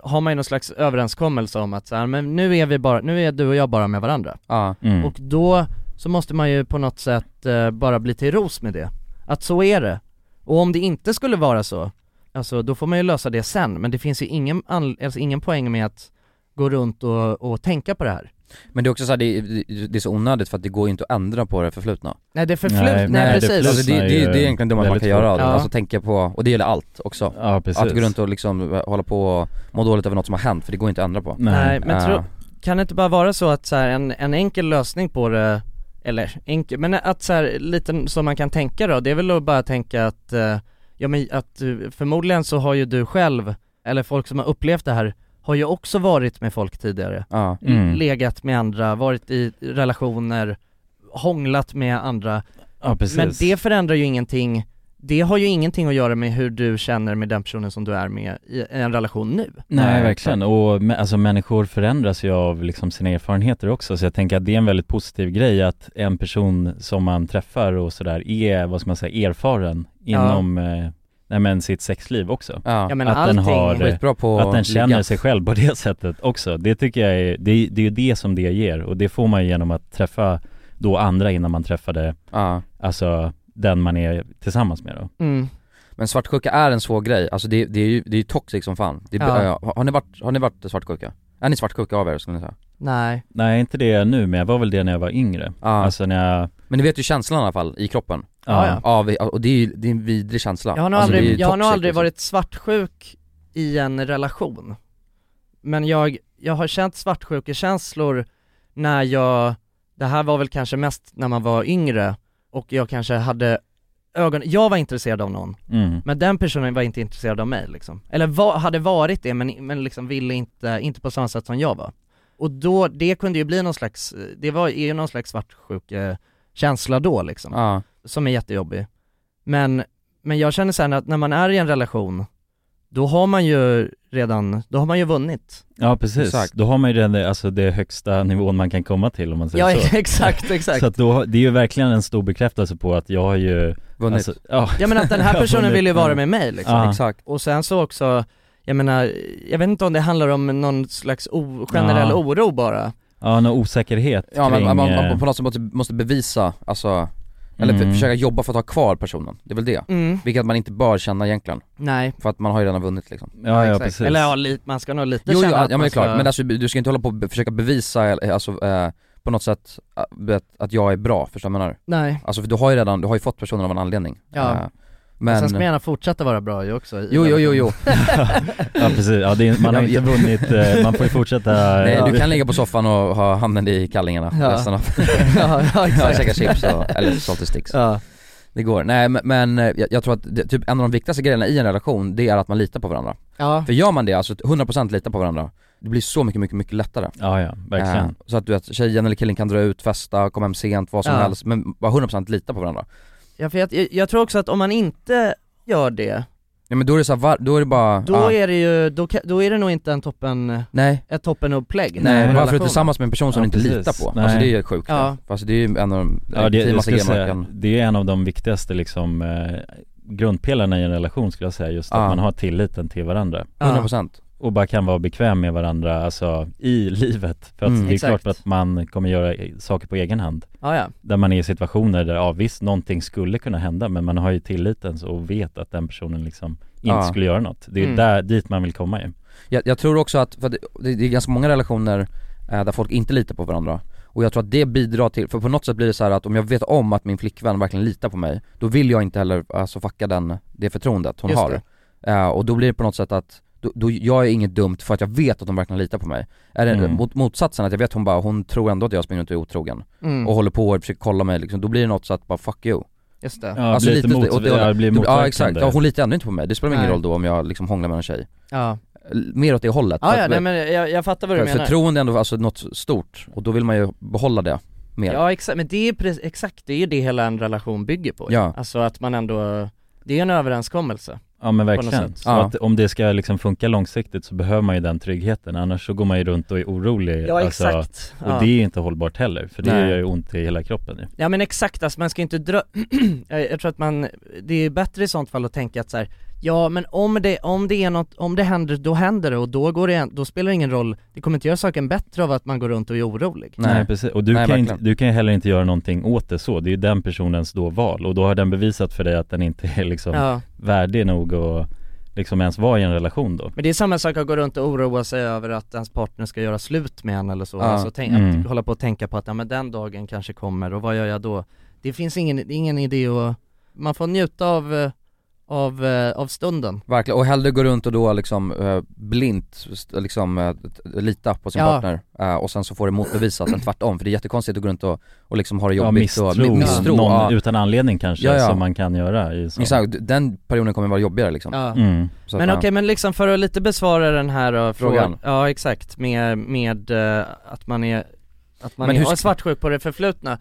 Speaker 4: har man ju någon slags överenskommelse om att så här, men nu är vi bara, nu är du och jag bara med varandra.
Speaker 2: Ja,
Speaker 3: Mm.
Speaker 4: Och då så måste man ju på något sätt eh, bara bli till ros med det. Att så är det. Och om det inte skulle vara så, alltså då får man ju lösa det sen. Men det finns ju ingen, anl- alltså, ingen poäng med att gå runt och, och tänka på det här.
Speaker 2: men det är också så här, det, det, det är så onödigt för att det går ju inte att ändra på det förflutna.
Speaker 4: Nej det är förflut, nej,
Speaker 3: Nej,
Speaker 2: det-
Speaker 4: precis.
Speaker 2: Alltså, det, det, det är egentligen det man kan
Speaker 3: Väldigt
Speaker 2: göra,
Speaker 4: fort. Ja.
Speaker 2: alltså tänka på, och det gäller allt också.
Speaker 3: Ja precis
Speaker 2: Att gå runt och liksom eh, hålla på och må dåligt över något som har hänt, för det går inte att ändra på.
Speaker 4: Nej,
Speaker 3: Nej,
Speaker 4: men
Speaker 2: Ja.
Speaker 4: tro, kan det inte bara vara så att så här, en, en enkel lösning på det, eller enkel, men att så här, lite som man kan tänka då, det är väl att bara tänka att, eh, ja men att eh, förmodligen så har ju du själv, eller folk som har upplevt det här, har ju också varit med folk tidigare.
Speaker 2: Ja.
Speaker 3: Mm.
Speaker 4: Legat med andra, varit i relationer, hånglat med andra.
Speaker 3: ja, precis.
Speaker 4: Men det förändrar ju ingenting, det har ju ingenting att göra med hur du känner med den personen som du är med i en relation nu.
Speaker 3: Nej verkligen, och mä- alltså människor förändras ju av liksom sina erfarenheter också så jag tänker att det är en väldigt positiv grej att en person som man träffar och sådär är, vad ska man säga, erfaren
Speaker 4: Ja.
Speaker 3: inom, eh, nej men sitt sexliv också
Speaker 2: Ja.
Speaker 4: Jag menar
Speaker 3: Att den
Speaker 4: allting,
Speaker 3: har- eh,
Speaker 2: Skitbra på
Speaker 3: Att den känner
Speaker 2: ligga.
Speaker 3: sig själv på det <laughs> sättet också, det tycker jag är, det, det är ju det som det ger och det får man ju genom att träffa då andra innan man träffade,
Speaker 2: Ja.
Speaker 3: alltså den man är tillsammans med då
Speaker 4: mm.
Speaker 2: Men svartsjuka är en svår grej, alltså det, det är ju, det är ju toxic som fan. Det,
Speaker 4: Ja.
Speaker 2: ja. har, ni varit, har ni varit svartsjuka? Är ni svartsjuka av er skulle ni säga?
Speaker 4: nej.
Speaker 3: Nej inte det nu men jag var väl det när jag var yngre,
Speaker 2: Ja.
Speaker 3: alltså när jag
Speaker 2: Men ni vet ju känslan i alla fall, i kroppen.
Speaker 4: Ja, ja.
Speaker 2: Av, och det är ju, det är en vidrig känsla.
Speaker 4: Jag har nog
Speaker 2: Alltså, det är
Speaker 4: aldrig,
Speaker 2: ju
Speaker 4: jag har nog
Speaker 2: toxic,
Speaker 4: aldrig
Speaker 2: liksom.
Speaker 4: varit svartsjuk i en relation. Men jag, jag har känt svartsjukekänslor när jag, det här var väl kanske mest när man var yngre och jag kanske hade ögon, jag var intresserad av någon,
Speaker 3: mm.
Speaker 4: men den personen var inte intresserad av mig liksom. Eller var, hade varit det men, men liksom ville inte, inte på samma sätt som jag var. Och då, det kunde ju bli någon slags, det var, är ju någon slags svartsjukekänsla då liksom
Speaker 2: Ja.
Speaker 4: som är jättejobbig. Men, men jag känner sen att när man är i en relation, då har man ju redan, då har man ju vunnit.
Speaker 3: Ja precis,
Speaker 2: Exakt.
Speaker 3: då har man ju den, alltså det högsta nivån man kan komma till om man säger
Speaker 4: Ja
Speaker 3: Typ
Speaker 2: <laughs>
Speaker 3: så
Speaker 4: <laughs> exakt,
Speaker 3: <laughs>
Speaker 4: exakt.
Speaker 3: Så att då, det är ju verkligen en stor bekräftelse på att jag har ju,
Speaker 2: Vunnit.
Speaker 3: alltså, ja,
Speaker 4: ja men att den
Speaker 3: Jag
Speaker 4: här
Speaker 3: har
Speaker 4: personen
Speaker 3: vunnit.
Speaker 4: vill ju vara med mig liksom.
Speaker 3: Ja.
Speaker 2: Exakt.
Speaker 4: Och sen så också, jag menar, jag vet inte om det handlar om någon slags o- generell
Speaker 3: Ja.
Speaker 4: oro bara.
Speaker 3: ja någon osäkerhet
Speaker 2: Ja
Speaker 3: kring,
Speaker 2: men man, man,
Speaker 3: eh,
Speaker 2: man på något sätt måste, måste bevisa, alltså, eller för,
Speaker 3: Mm.
Speaker 2: försöka jobba för att ha kvar personen, det är väl det.
Speaker 4: Mm,
Speaker 2: Vilket man inte bör känna egentligen,
Speaker 4: nej.
Speaker 2: för att man har ju redan vunnit liksom
Speaker 3: ja, ja
Speaker 2: exakt.
Speaker 3: precis
Speaker 4: Eller ja, lite, man ska nog lite
Speaker 2: Jo, jo
Speaker 4: känna
Speaker 2: ja,
Speaker 4: att
Speaker 2: ja men
Speaker 4: man
Speaker 2: det är klart,
Speaker 4: ska-
Speaker 2: men alltså, du ska inte hålla på och be- försöka bevisa eh, alltså, eh, på något sätt eh, vet, att jag är bra, förstår du vad jag menar?
Speaker 4: Nej.
Speaker 2: Alltså för du har ju redan, du har ju fått personen av en anledning
Speaker 4: Ja.
Speaker 2: Eh,
Speaker 4: Men...
Speaker 2: Men,
Speaker 4: Sen ska man gärna fortsätta vara bra ju också. i
Speaker 2: jo jo jo jo,
Speaker 3: Ja precis, ja, det är, man har
Speaker 2: <laughs>
Speaker 3: ju inte vunnit, eh, man får ju fortsätta
Speaker 2: nej du kan ligga på soffan och ha handen i kallingarna
Speaker 4: Ja.
Speaker 2: resten av,
Speaker 4: ja, <laughs>
Speaker 2: ja,
Speaker 4: ja, <laughs> exakt.
Speaker 2: käka chips och, eller salty sticks
Speaker 4: Ja.
Speaker 2: Det går, nej men, men eh, jag, jag tror att det, typ en av de viktigaste grejerna i en relation, det är att man litar på varandra
Speaker 4: Ja.
Speaker 2: För gör man det, alltså 100% litar på varandra, det blir så mycket, mycket, mycket lättare
Speaker 3: Ja ja, verkligen
Speaker 2: Eh, Så att du vet, tjejen eller killen kan dra ut, festa, komma hem sent, vad som
Speaker 4: Ja.
Speaker 2: helst, men bara 100% lita på varandra
Speaker 4: Ja, för jag, jag tror också att om man inte gör det,
Speaker 2: Ja men då är det så här, var, då är det bara,
Speaker 4: Då
Speaker 2: ah,
Speaker 4: är det ju, då, ka- då är det nog inte en toppen,
Speaker 2: nej,
Speaker 4: ett toppenupplägg
Speaker 2: nej
Speaker 4: i
Speaker 2: varför är du
Speaker 4: relationen.
Speaker 2: tillsammans med en person som
Speaker 3: Ja,
Speaker 2: du inte
Speaker 3: precis.
Speaker 2: litar på?
Speaker 3: Nej.
Speaker 2: Alltså det är ju sjukt
Speaker 4: Ja.
Speaker 2: ja. Alltså det är ju en av de
Speaker 3: Ja, det, jag
Speaker 2: intimaste
Speaker 3: skulle
Speaker 2: grejerna man
Speaker 3: säga,
Speaker 2: kan
Speaker 3: det är en av de viktigaste liksom, eh, grundpelarna i en relation skulle jag säga, just att
Speaker 2: Ja.
Speaker 3: man har tilliten till varandra
Speaker 4: Ja.
Speaker 2: 100%
Speaker 3: och bara kan vara bekväm med varandra, alltså i <laughs> livet. För att
Speaker 2: Mm.
Speaker 3: det är
Speaker 4: Exakt.
Speaker 3: klart att man kommer göra eh, saker på egen hand.
Speaker 4: Ja, ja.
Speaker 3: Där man är i situationer där, ja visst, någonting skulle kunna hända men man har ju tilliten så- och vet att den personen liksom inte
Speaker 2: Ja.
Speaker 3: skulle göra något. Det är
Speaker 4: Mm.
Speaker 3: där, dit man vill komma ju.
Speaker 2: Jag, jag tror också att, för att det, det är ganska många relationer eh, där folk inte litar på varandra och jag tror att det bidrar till, för på något sätt blir det så här att om jag vet om att min flickvän verkligen litar på mig, då vill jag inte heller alltså fucka den, det förtroendet hon
Speaker 4: Just
Speaker 2: har. Eh, och då blir det på något sätt att, då, då, jag är inget dumt för att jag vet att hon verkligen litar på mig. Är det
Speaker 3: Mm.
Speaker 2: mot, motsatsen, att jag vet hon bara, hon tror ändå att jag springer runt och är otrogen
Speaker 4: Mm.
Speaker 2: och håller på och försöker kolla mig liksom, då blir det något så att bara fuck you.
Speaker 4: Just det.
Speaker 3: Ja,
Speaker 4: Ja.
Speaker 2: Alltså
Speaker 3: blir lite,
Speaker 2: lite
Speaker 3: mot,
Speaker 2: åt det
Speaker 3: ja,
Speaker 2: hållet.
Speaker 3: det blir
Speaker 2: ja exakt,
Speaker 3: motverkande.
Speaker 2: ja, hon litar ändå inte på mig. Det spelar ingen
Speaker 4: Nej.
Speaker 2: roll då om jag liksom hånglar med en tjej.
Speaker 4: Ja,
Speaker 2: Mer åt det hållet. För
Speaker 4: ja,
Speaker 2: att-
Speaker 4: nej, men jag, jag fattar vad du
Speaker 2: för
Speaker 4: menar.
Speaker 2: förtroende är ändå alltså något stort och då vill man ju behålla det mer.
Speaker 4: Ja exakt, men det är pre- exakt, det är ju det hela en relation bygger på ju.
Speaker 2: Ja.
Speaker 4: Alltså att man ändå, det är en överenskommelse
Speaker 3: Ja men
Speaker 4: något
Speaker 3: verkligen.
Speaker 4: sätt.
Speaker 3: Så
Speaker 2: Ja.
Speaker 3: att om det ska liksom funka långsiktigt så behöver man ju den tryggheten, annars så går man ju runt och är orolig alltså. Och
Speaker 4: ja.
Speaker 3: det är ju inte hållbart heller, för det
Speaker 2: Nej.
Speaker 3: gör ju ont i hela kroppen ju.
Speaker 4: ja men exakt, alltså man ska inte dra, <clears throat> jag jag tror att man, det är bättre i sånt fall att tänka att så här, ja men om det, om det är något, om det händer, då händer det och då går det, då spelar det ingen roll, det kommer inte göra saken bättre av att man går runt och är orolig
Speaker 2: Nej.
Speaker 3: precis. Och du,
Speaker 2: Nej,
Speaker 3: kan ju inte,
Speaker 2: verkligen.
Speaker 3: du kan ju heller inte göra någonting åt det så, det är ju den personens då val och då har den bevisat för dig att den inte är liksom
Speaker 4: Ja,
Speaker 3: värdig nog och liksom ens vara i en relation då.
Speaker 4: men det är samma sak att gå runt och oroa sig över att ens partner ska göra slut med en eller så,
Speaker 2: Ja.
Speaker 4: alltså tänk,
Speaker 3: Mm.
Speaker 4: att hålla på och tänka på att ja, men den dagen kanske kommer och vad gör jag då? Det finns ingen, det är ingen idé att, man får njuta av, eh, av, eh, av stunden
Speaker 2: Verkligen, och hellre gå runt och då liksom eh, blint st- liksom eh, t- lita på sin
Speaker 4: Ja.
Speaker 2: partner eh, och sen så får det motbevisat än tvärtom för det är jättekonstigt att gå runt och, och liksom ha det
Speaker 3: Ja,
Speaker 2: jobbigt
Speaker 3: misstro,
Speaker 2: och mi- misstro
Speaker 3: någon
Speaker 2: ja.
Speaker 3: utan anledning kanske
Speaker 2: Ja, ja.
Speaker 3: som man kan göra i så.
Speaker 2: Exakt, den perioden kommer vara jobbigare liksom.
Speaker 4: ja.
Speaker 3: Mm.
Speaker 2: Så
Speaker 4: Men
Speaker 2: att,
Speaker 4: okej, men liksom för att lite besvara den här
Speaker 2: Frågan.
Speaker 4: eh, frågan Ja exakt, med, med eh, att man är, att man
Speaker 2: Men
Speaker 4: är
Speaker 2: hur ska-
Speaker 4: ja, svartsjuk på det förflutna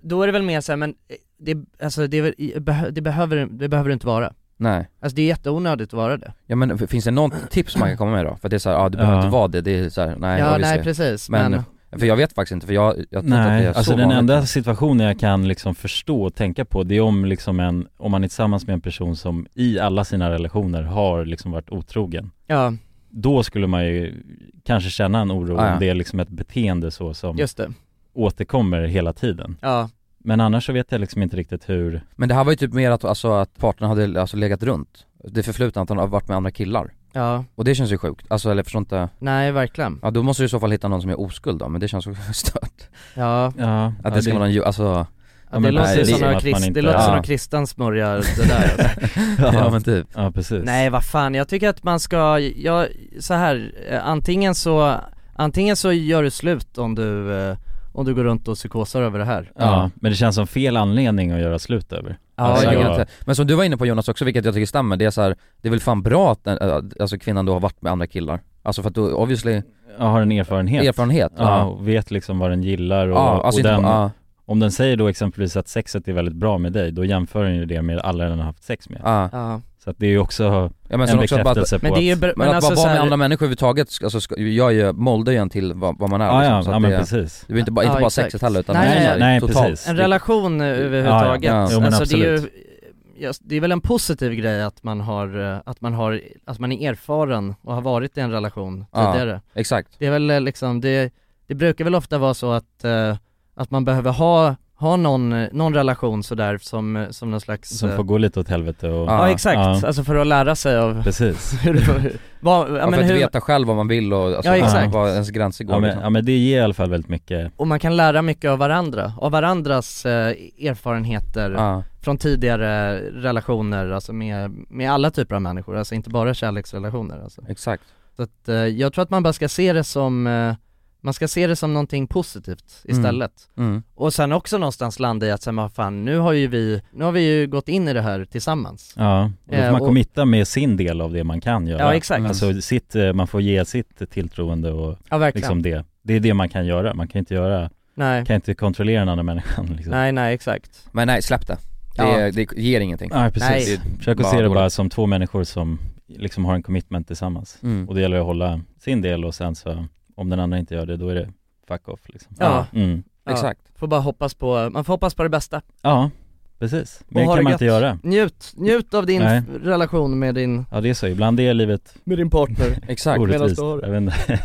Speaker 4: Då är det väl mer såhär, men eh, det, alltså, det, är väl- i- behö- det, behöver, det behöver det inte vara
Speaker 2: Nej.
Speaker 4: Alltså det är jätteonödigt att vara det
Speaker 2: Ja men f- finns det något tips man kan komma med då? För att det är såhär, ja ah, det behöver
Speaker 3: Ja.
Speaker 2: inte vara det, det är såhär, nej
Speaker 4: Ja
Speaker 2: jag vill
Speaker 4: nej
Speaker 2: se.
Speaker 4: precis, men,
Speaker 2: Men, För jag vet faktiskt inte, för jag, jag tror inte att det
Speaker 3: Nej,
Speaker 2: är
Speaker 3: alltså
Speaker 2: så
Speaker 3: den
Speaker 2: vanligt.
Speaker 3: enda situationen jag kan liksom förstå och tänka på det är om liksom en, om man är tillsammans med en person som i alla sina relationer har liksom varit otrogen.
Speaker 2: Mm.
Speaker 4: ja
Speaker 3: Då skulle man ju kanske känna en oro
Speaker 2: Ah, ja.
Speaker 3: om det är liksom ett beteende så som
Speaker 4: just det,
Speaker 3: återkommer hela tiden.
Speaker 4: ja
Speaker 3: Men annars så vet jag liksom inte riktigt hur,
Speaker 2: Men det här var ju typ mer att, alltså, att partnern hade alltså, legat runt, det förflutna att han har varit med andra killar
Speaker 4: Ja,
Speaker 2: Och det känns ju sjukt, alltså eller jag förstår inte,
Speaker 4: nej verkligen
Speaker 2: ja då måste du i så fall hitta någon som är oskuld då, men det känns också <laughs> stört
Speaker 4: Ja,
Speaker 3: ja,
Speaker 2: Att det ska vara någon, ju- alltså,
Speaker 4: ja
Speaker 3: men
Speaker 4: det låter
Speaker 2: nej,
Speaker 4: ju
Speaker 2: det är
Speaker 4: som
Speaker 2: som
Speaker 4: några
Speaker 3: att man
Speaker 4: krist,
Speaker 3: inte-
Speaker 4: det låter som
Speaker 2: Ja.
Speaker 4: några kristna smörjar det där alltså.
Speaker 2: ja.
Speaker 3: ja,
Speaker 2: men typ
Speaker 3: ja precis.
Speaker 4: Nej vad fan, jag tycker att man ska, jag, så här, eh, antingen så, antingen så gör du slut om du, eh, om du går runt och psykosar över det här
Speaker 3: Ja, men det känns som fel anledning att göra slut över. Alltså,
Speaker 2: jag
Speaker 4: ja.
Speaker 2: vet inte. Men som du var inne på Jonas också, vilket jag tycker stämmer, det är så här, det är väl fan bra att den, äh, alltså, kvinnan då har varit med andra killar Alltså för att då, obviously,
Speaker 3: Jag har en erfarenhet.
Speaker 2: erfarenhet
Speaker 3: Ja, och vet liksom vad den gillar och,
Speaker 2: ja alltså
Speaker 3: och
Speaker 2: inte,
Speaker 3: den,
Speaker 2: ja,
Speaker 3: om den säger då exempelvis att sexet är väldigt bra med dig, då jämför den ju det med alla den har haft sex med.
Speaker 2: ja.
Speaker 4: ja.
Speaker 3: Så att det är ju också
Speaker 2: ja men
Speaker 3: en
Speaker 2: sen också att bara,
Speaker 3: bekräftelse på
Speaker 4: Men det är ju,
Speaker 3: att,
Speaker 4: bra-
Speaker 2: men
Speaker 4: men
Speaker 2: att
Speaker 4: alltså
Speaker 2: bara vara
Speaker 4: så
Speaker 2: med
Speaker 4: här,
Speaker 2: andra människor överhuvudtaget, alltså ska, jag är, moldar ju en till vad, vad man är
Speaker 3: ja, ja,
Speaker 2: liksom, så
Speaker 3: ja
Speaker 2: att
Speaker 3: men
Speaker 2: det,
Speaker 3: precis.
Speaker 2: det är inte bara, inte
Speaker 4: Ja,
Speaker 2: bara
Speaker 4: exakt.
Speaker 2: sexet heller utan
Speaker 4: Nej,
Speaker 2: det är så här
Speaker 4: nej,
Speaker 3: nej,
Speaker 2: totalt
Speaker 3: precis.
Speaker 4: en relation eh, överhuvudtaget,
Speaker 2: typ. Ja, ja. Jo,
Speaker 3: men
Speaker 4: alltså det är ju
Speaker 3: absolut.
Speaker 4: just, det är väl en positiv grej att man har, eh, att man har, att man är erfaren och har varit i en relation
Speaker 2: Ja.
Speaker 4: tidigare
Speaker 2: Exakt
Speaker 4: Det är väl eh, liksom, det, det brukar väl ofta vara så att, eh, att man behöver ha, ha någon, eh, någon relation sådär som, eh, som någon slags
Speaker 3: Som
Speaker 4: eh,
Speaker 3: får gå lite åt helvete och,
Speaker 4: Ja,
Speaker 2: Ja,
Speaker 4: exakt,
Speaker 3: ja.
Speaker 4: alltså för att lära sig
Speaker 2: <laughs>
Speaker 3: <laughs>
Speaker 4: av
Speaker 3: precis.
Speaker 4: <laughs> hur det vad, ja,
Speaker 2: Ja,
Speaker 4: men
Speaker 2: för att
Speaker 4: hur,
Speaker 2: veta själv vad man vill och alltså,
Speaker 4: Ja, exakt.
Speaker 2: vad ens gränser går
Speaker 3: Ja men,
Speaker 2: liksom.
Speaker 3: ja men det ger i alla fall väldigt mycket,
Speaker 4: Och man kan lära mycket av varandra, av varandras eh, erfarenheter
Speaker 2: ja.
Speaker 4: från tidigare relationer, alltså med, med alla typer av människor, alltså inte bara kärleksrelationer alltså.
Speaker 2: exakt
Speaker 4: Så att eh, jag tror att man bara ska se det som, eh, man ska se det som någonting positivt
Speaker 2: Mm.
Speaker 4: istället
Speaker 2: mm.
Speaker 4: Och sen också någonstans landa i att säga, fan nu har ju vi, nu har vi ju gått in i det här tillsammans
Speaker 3: ja, och då får
Speaker 4: Eh,
Speaker 3: man
Speaker 4: och-
Speaker 3: committa med sin del av det man kan göra.
Speaker 4: Ja, exakt.
Speaker 3: Alltså sitt, eh, man får ge sitt tilltroende och
Speaker 4: Ja verkligen,
Speaker 3: liksom det. Det är det man kan göra, man kan inte göra,
Speaker 4: nej,
Speaker 3: kan inte kontrollera den andra människan liksom.
Speaker 4: nej nej exakt
Speaker 2: Men nej, släpp det Det,
Speaker 4: Ja.
Speaker 2: det ger ingenting.
Speaker 8: Nej precis,
Speaker 2: Nej.
Speaker 8: försök att
Speaker 2: Bara
Speaker 8: se det
Speaker 2: dåligt.
Speaker 8: bara som två människor som liksom har en commitment tillsammans
Speaker 2: Mm.
Speaker 8: Och det gäller att hålla sin del och sen så, om den andra inte gör det, då är det fuck off liksom
Speaker 4: Ja.
Speaker 8: mm.
Speaker 4: Ja.
Speaker 2: Exakt.
Speaker 4: Får bara hoppas på, man får hoppas på det bästa.
Speaker 8: ja precis,
Speaker 4: Och
Speaker 8: mer
Speaker 4: ha
Speaker 8: kan
Speaker 4: det
Speaker 8: man inte
Speaker 4: gött.
Speaker 8: göra
Speaker 4: Njut, njut av din
Speaker 8: Nej.
Speaker 4: f- relation med din,
Speaker 8: Ja det är så, ibland är livet
Speaker 4: med din partner.
Speaker 2: Exakt.
Speaker 8: orättvist,
Speaker 4: du har det.
Speaker 8: jag vet inte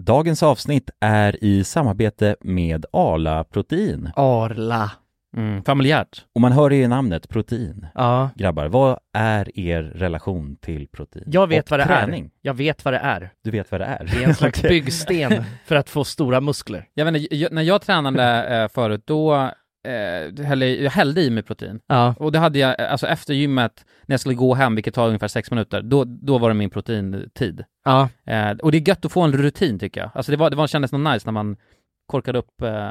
Speaker 3: Dagens avsnitt är i samarbete med Arla Protein.
Speaker 4: Arla.
Speaker 6: Mm, familjärt.
Speaker 3: Och man hör det i namnet, protein.
Speaker 4: Ja,
Speaker 3: Grabbar, vad är er relation till protein?
Speaker 4: jag vet
Speaker 3: Och
Speaker 4: vad det
Speaker 3: träning.
Speaker 4: är. Jag vet vad det är.
Speaker 3: Du vet vad det är? <laughs>
Speaker 4: Det är en slags
Speaker 3: Okej.
Speaker 4: byggsten för att få stora muskler.
Speaker 6: Jag vet inte, jag, när jag tränade eh, förut, då eh, hällde jag jag hällde i mig protein.
Speaker 4: Ja.
Speaker 6: Och det hade jag, eh, alltså efter gymmet, när jag skulle gå hem, vilket tar ungefär sex minuter, då, då var det min proteintid.
Speaker 4: Ja.
Speaker 6: Eh, och det är gött att få en rutin tycker jag. Alltså det, var, det var, kändes nog nice när man korkade upp... Eh,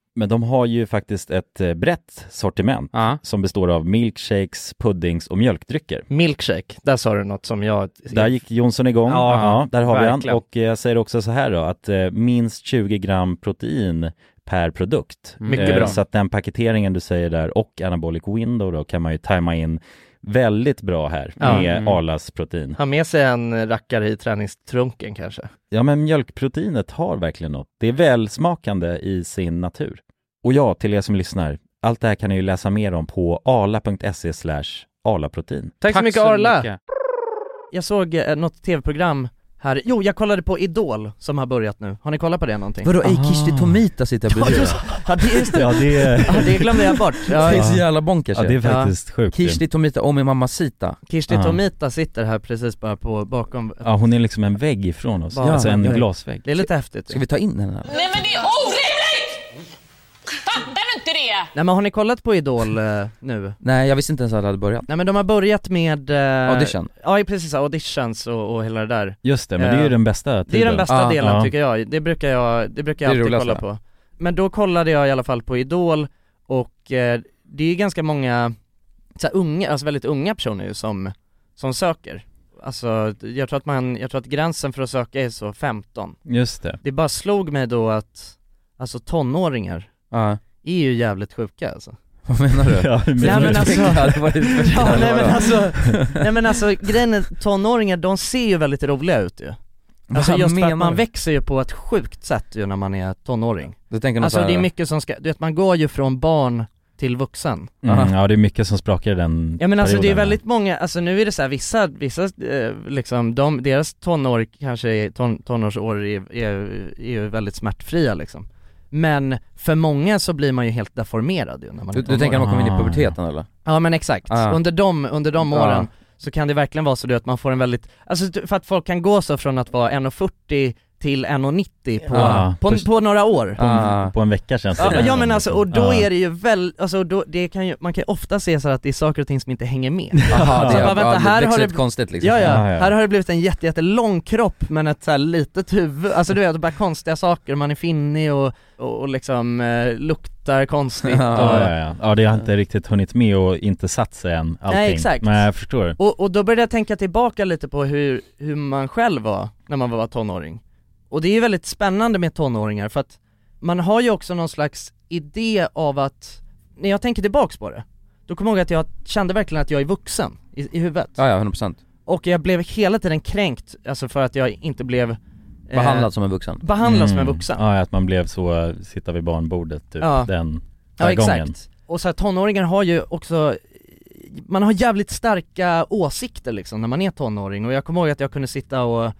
Speaker 3: men de har ju faktiskt ett eh, brett sortiment
Speaker 6: Ja.
Speaker 3: som består av milkshakes, puddings och mjölkdrycker.
Speaker 4: Milkshake, där sa du något som jag...
Speaker 3: Där gick Jonsson igång,
Speaker 4: Ja,
Speaker 3: ja, där har vi
Speaker 4: verkligen.
Speaker 3: han. Och eh, jag säger också så här då, att eh, minst 20 gram protein per produkt.
Speaker 4: Mycket
Speaker 3: Eh,
Speaker 4: bra.
Speaker 3: Så att den paketeringen du säger där och anabolic window då kan man ju tajma in väldigt bra här
Speaker 4: Ja.
Speaker 3: med
Speaker 6: Mm.
Speaker 3: Arlas protein.
Speaker 4: Ha med sig en eh, rackare i träningstrunken kanske.
Speaker 3: Ja men mjölkproteinet har verkligen något. Det är välsmakande i sin natur. Och ja, till er som lyssnar, allt det här kan ni ju läsa mer om på arla.se slash arlaprotein.
Speaker 4: Tack, så mycket Arla!
Speaker 6: mycket.
Speaker 4: Jag såg eh, något tv-program här, jo jag kollade på Idol som har börjat nu, har ni kollat på det någonting?
Speaker 2: Vadå, ey
Speaker 3: Aha.
Speaker 2: Kishti Tomita sitter jag bredvid.
Speaker 4: Ja det, just
Speaker 3: <laughs>
Speaker 4: det,
Speaker 3: Ja det är,
Speaker 4: ja, det glömde jag bort.
Speaker 2: Det är
Speaker 4: Ja,
Speaker 2: så jävla bonkers
Speaker 3: ja, det är
Speaker 2: ju.
Speaker 3: faktiskt sjukt. ju.
Speaker 2: Kishti Tomita och min mamma Sita.
Speaker 4: Kirsti
Speaker 3: Ja.
Speaker 4: Tomita sitter här precis bara på, bakom,
Speaker 3: Ja hon är liksom en vägg ifrån oss,
Speaker 4: Ja,
Speaker 3: alltså en
Speaker 2: ja, ja.
Speaker 3: glasvägg.
Speaker 4: det är lite häftigt.
Speaker 2: Ska vi ta in henne? eller?
Speaker 9: Nej men det är orimligt! Fattar du inte det?
Speaker 4: Nej men har ni kollat på Idol eh, nu?
Speaker 2: Nej jag visste inte ens att det hade börjat.
Speaker 4: Nej men de har börjat med... Eh,
Speaker 2: Audition.
Speaker 4: Ja precis, auditions och, och hela det där.
Speaker 3: Just det, men det är
Speaker 4: Ja.
Speaker 3: ju den bästa tiden.
Speaker 4: Det är den bästa
Speaker 2: Ah,
Speaker 4: delen
Speaker 3: ja.
Speaker 4: tycker jag, det brukar jag, det brukar jag
Speaker 2: Det är
Speaker 4: alltid
Speaker 2: roligast,
Speaker 4: kolla på Men då kollade jag i alla fall på Idol och eh, det är ju ganska många så här, unga, alltså väldigt unga personer ju som, som söker Alltså jag tror att man, jag tror att gränsen för att söka är så 15
Speaker 3: Just
Speaker 4: <laughs>
Speaker 3: det.
Speaker 4: Det bara slog mig då att, alltså tonåringar
Speaker 2: Ja.
Speaker 4: är ju jävligt sjuka alltså
Speaker 2: Vad menar du?
Speaker 3: Ja, men,
Speaker 4: Nej, men alltså-
Speaker 2: Det hade varit-
Speaker 4: Ja, nej men
Speaker 2: Vadå?
Speaker 4: alltså, <laughs> nej men alltså grejen är, tonåringar de ser ju väldigt roliga ut ju Alltså
Speaker 2: Vad
Speaker 4: just för
Speaker 2: menar
Speaker 4: att man
Speaker 2: du?
Speaker 4: växer ju på ett sjukt sätt ju när man är tonåring
Speaker 2: Då tänker någon
Speaker 4: Alltså
Speaker 2: såhär,
Speaker 4: det är mycket som ska, du vet man går ju från barn till vuxen
Speaker 3: mm, ja det är mycket som sprakar i den
Speaker 4: Ja men alltså det är
Speaker 3: perioden.
Speaker 4: väldigt många, alltså nu är det så här, vissa, vissa eh, liksom, de, deras tonår kanske, är, ton, tonårsår är, är, är ju väldigt smärtfria liksom Men för många så blir man ju helt deformerad ju när man
Speaker 2: du,
Speaker 4: är
Speaker 2: du
Speaker 4: tonåring
Speaker 2: tänker att man kommer in i
Speaker 3: Ah.
Speaker 2: puberteten eller?
Speaker 4: Ja men exakt,
Speaker 2: Ah.
Speaker 4: under de, under de
Speaker 2: Ah.
Speaker 4: åren så kan det verkligen vara så du vet, att man får en väldigt, alltså du- för att folk kan gå så från att vara 1,40 till 1,90 på,
Speaker 3: Ja.
Speaker 4: på, på, några år
Speaker 3: På, en-
Speaker 2: Ah.
Speaker 3: på en vecka känns det
Speaker 4: Ja, men-
Speaker 3: som.
Speaker 4: ja men alltså, och då
Speaker 3: Ja.
Speaker 4: är det ju väl, alltså då, det kan ju, man kan ju ofta se så här att det är saker och ting som inte hänger med
Speaker 2: Jaha,
Speaker 4: Så
Speaker 2: det,
Speaker 4: bara,
Speaker 2: ja,
Speaker 4: vänta,
Speaker 2: det
Speaker 4: här
Speaker 2: växer
Speaker 4: har
Speaker 2: ut
Speaker 4: det-
Speaker 2: konstigt liksom.
Speaker 4: Ja ja,
Speaker 3: Ja, ja.
Speaker 4: här har det blivit en jätte, jätte lång kropp men ett så här litet huvud, alltså du vet bara konstiga saker, man är finnig och, och, och liksom eh, luktar konstigt och,
Speaker 2: Ja,
Speaker 3: Ja, ja, ja. ja det har inte riktigt hunnit med och inte satt sig än allting.
Speaker 4: Nej, exakt.
Speaker 3: Men jag förstår.
Speaker 4: och, och då började jag tänka tillbaka lite på hur, hur man själv var när man var tonåring Och det är ju väldigt spännande med tonåringar för att man har ju också någon slags idé av att när jag tänker tillbaks på det, då kommer jag ihåg att jag kände verkligen att jag är vuxen i, i huvudet
Speaker 2: Ja, ja, 100%.
Speaker 4: Och jag blev hela tiden kränkt, alltså för att jag inte blev eh,
Speaker 2: Behandlad som en vuxen.
Speaker 4: Behandlad som en
Speaker 3: Mm.
Speaker 4: vuxen
Speaker 3: Ja, att man blev så, eh, sitta vid barnbordet typ,
Speaker 4: Ja.
Speaker 3: den,
Speaker 4: Ja
Speaker 3: den gången
Speaker 4: exakt, och så här, tonåringar har ju också Man har jävligt starka åsikter liksom när man är tonåring och jag kommer ihåg att jag kunde sitta och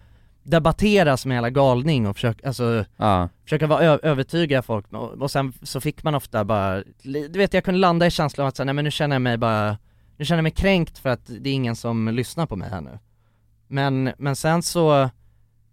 Speaker 4: debattera som en jävla galning och försöka, alltså,
Speaker 2: Ja.
Speaker 4: försöka vara ö- övertyga folk och, och sen så fick man ofta bara, li- du vet jag kunde landa i känslan av att säga nej men nu känner jag mig bara, nu känner jag mig kränkt för att det är ingen som lyssnar på mig här nu Men, men sen så,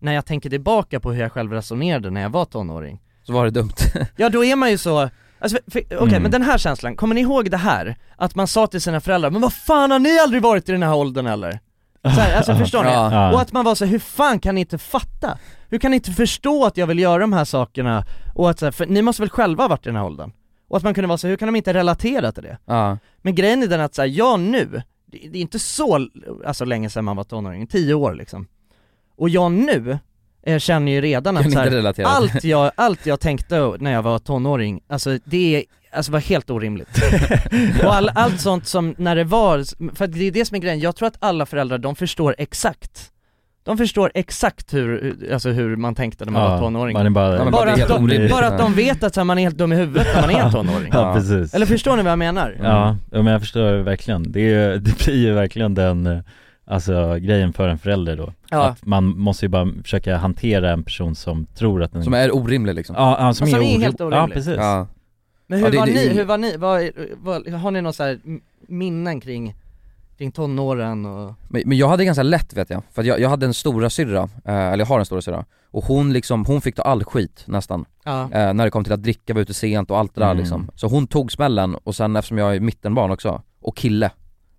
Speaker 4: när jag tänker tillbaka på hur jag själv resonerade när jag var tonåring
Speaker 2: Så var det dumt.
Speaker 4: Ja då är man ju så, alltså, för- för- okej
Speaker 3: Mm.
Speaker 4: men den här känslan, kommer ni ihåg det här? Att man sa till sina föräldrar 'Men vad fan har ni aldrig varit i den här åldern eller?' Så här, alltså förstår ni?
Speaker 2: <laughs> Ja.
Speaker 3: Ja.
Speaker 4: Och att man var så här, hur fan kan ni inte fatta? Hur kan ni inte förstå att jag vill göra de här sakerna? Och att så här, för ni måste väl själva ha varit i den här åldern? Och att man kunde vara så här, hur kan de inte relatera till det?
Speaker 2: Ja.
Speaker 4: Men grejen är den att så här, jag nu, det det är inte så l- alltså, länge sedan man var tonåring, tio år liksom Och jag nu, eh, känner ju redan
Speaker 2: Kan
Speaker 4: att så
Speaker 2: inte
Speaker 4: här,
Speaker 2: relatera.
Speaker 4: allt jag, allt jag tänkte när jag var tonåring, alltså det är, alltså var helt orimligt. Och all, allt sånt som när det var, för att det är det som är grejen, jag tror att alla föräldrar de förstår exakt De förstår exakt hur, alltså hur man tänkte när man var tonåring
Speaker 3: man är bara,
Speaker 2: Ja, men
Speaker 4: bara,
Speaker 2: det är
Speaker 4: att
Speaker 2: helt
Speaker 4: de,
Speaker 2: orimligt.
Speaker 4: bara att de vet att så här, man är helt dum i huvudet <laughs> när man är en tonåring
Speaker 3: <laughs> Ja, precis
Speaker 4: Eller förstår ni vad jag menar?
Speaker 3: Ja, ja, men jag förstår verkligen. Det, är, ju- <laughs> det blir ju verkligen den, eh, alltså grejen för en förälder då.
Speaker 4: Ja.
Speaker 3: Att man måste ju bara försöka hantera en person som tror att den...
Speaker 2: Som är orimlig liksom.
Speaker 3: ja, ja, som,
Speaker 4: Och som är
Speaker 3: oro-
Speaker 4: helt
Speaker 3: Ja,
Speaker 4: orimlig.
Speaker 3: precis.
Speaker 2: Ja.
Speaker 4: Men hur,
Speaker 2: Ja, det-
Speaker 4: var
Speaker 2: det-
Speaker 4: ni, hur var ni, vad, vad, har ni några så här m- minnen kring, kring tonåren och,
Speaker 2: Men, men jag hade ganska lätt vet jag, för att jag, jag hade en stora syrra, eh, eller jag har en stora syrra och hon liksom, hon fick ta all skit nästan, <laughs>
Speaker 4: ja,
Speaker 2: eh, när det kom till att dricka, vara ute sent och allt det där
Speaker 3: Mm.
Speaker 2: liksom. Så hon tog smällen och sen eftersom jag är mittenbarn också, och kille,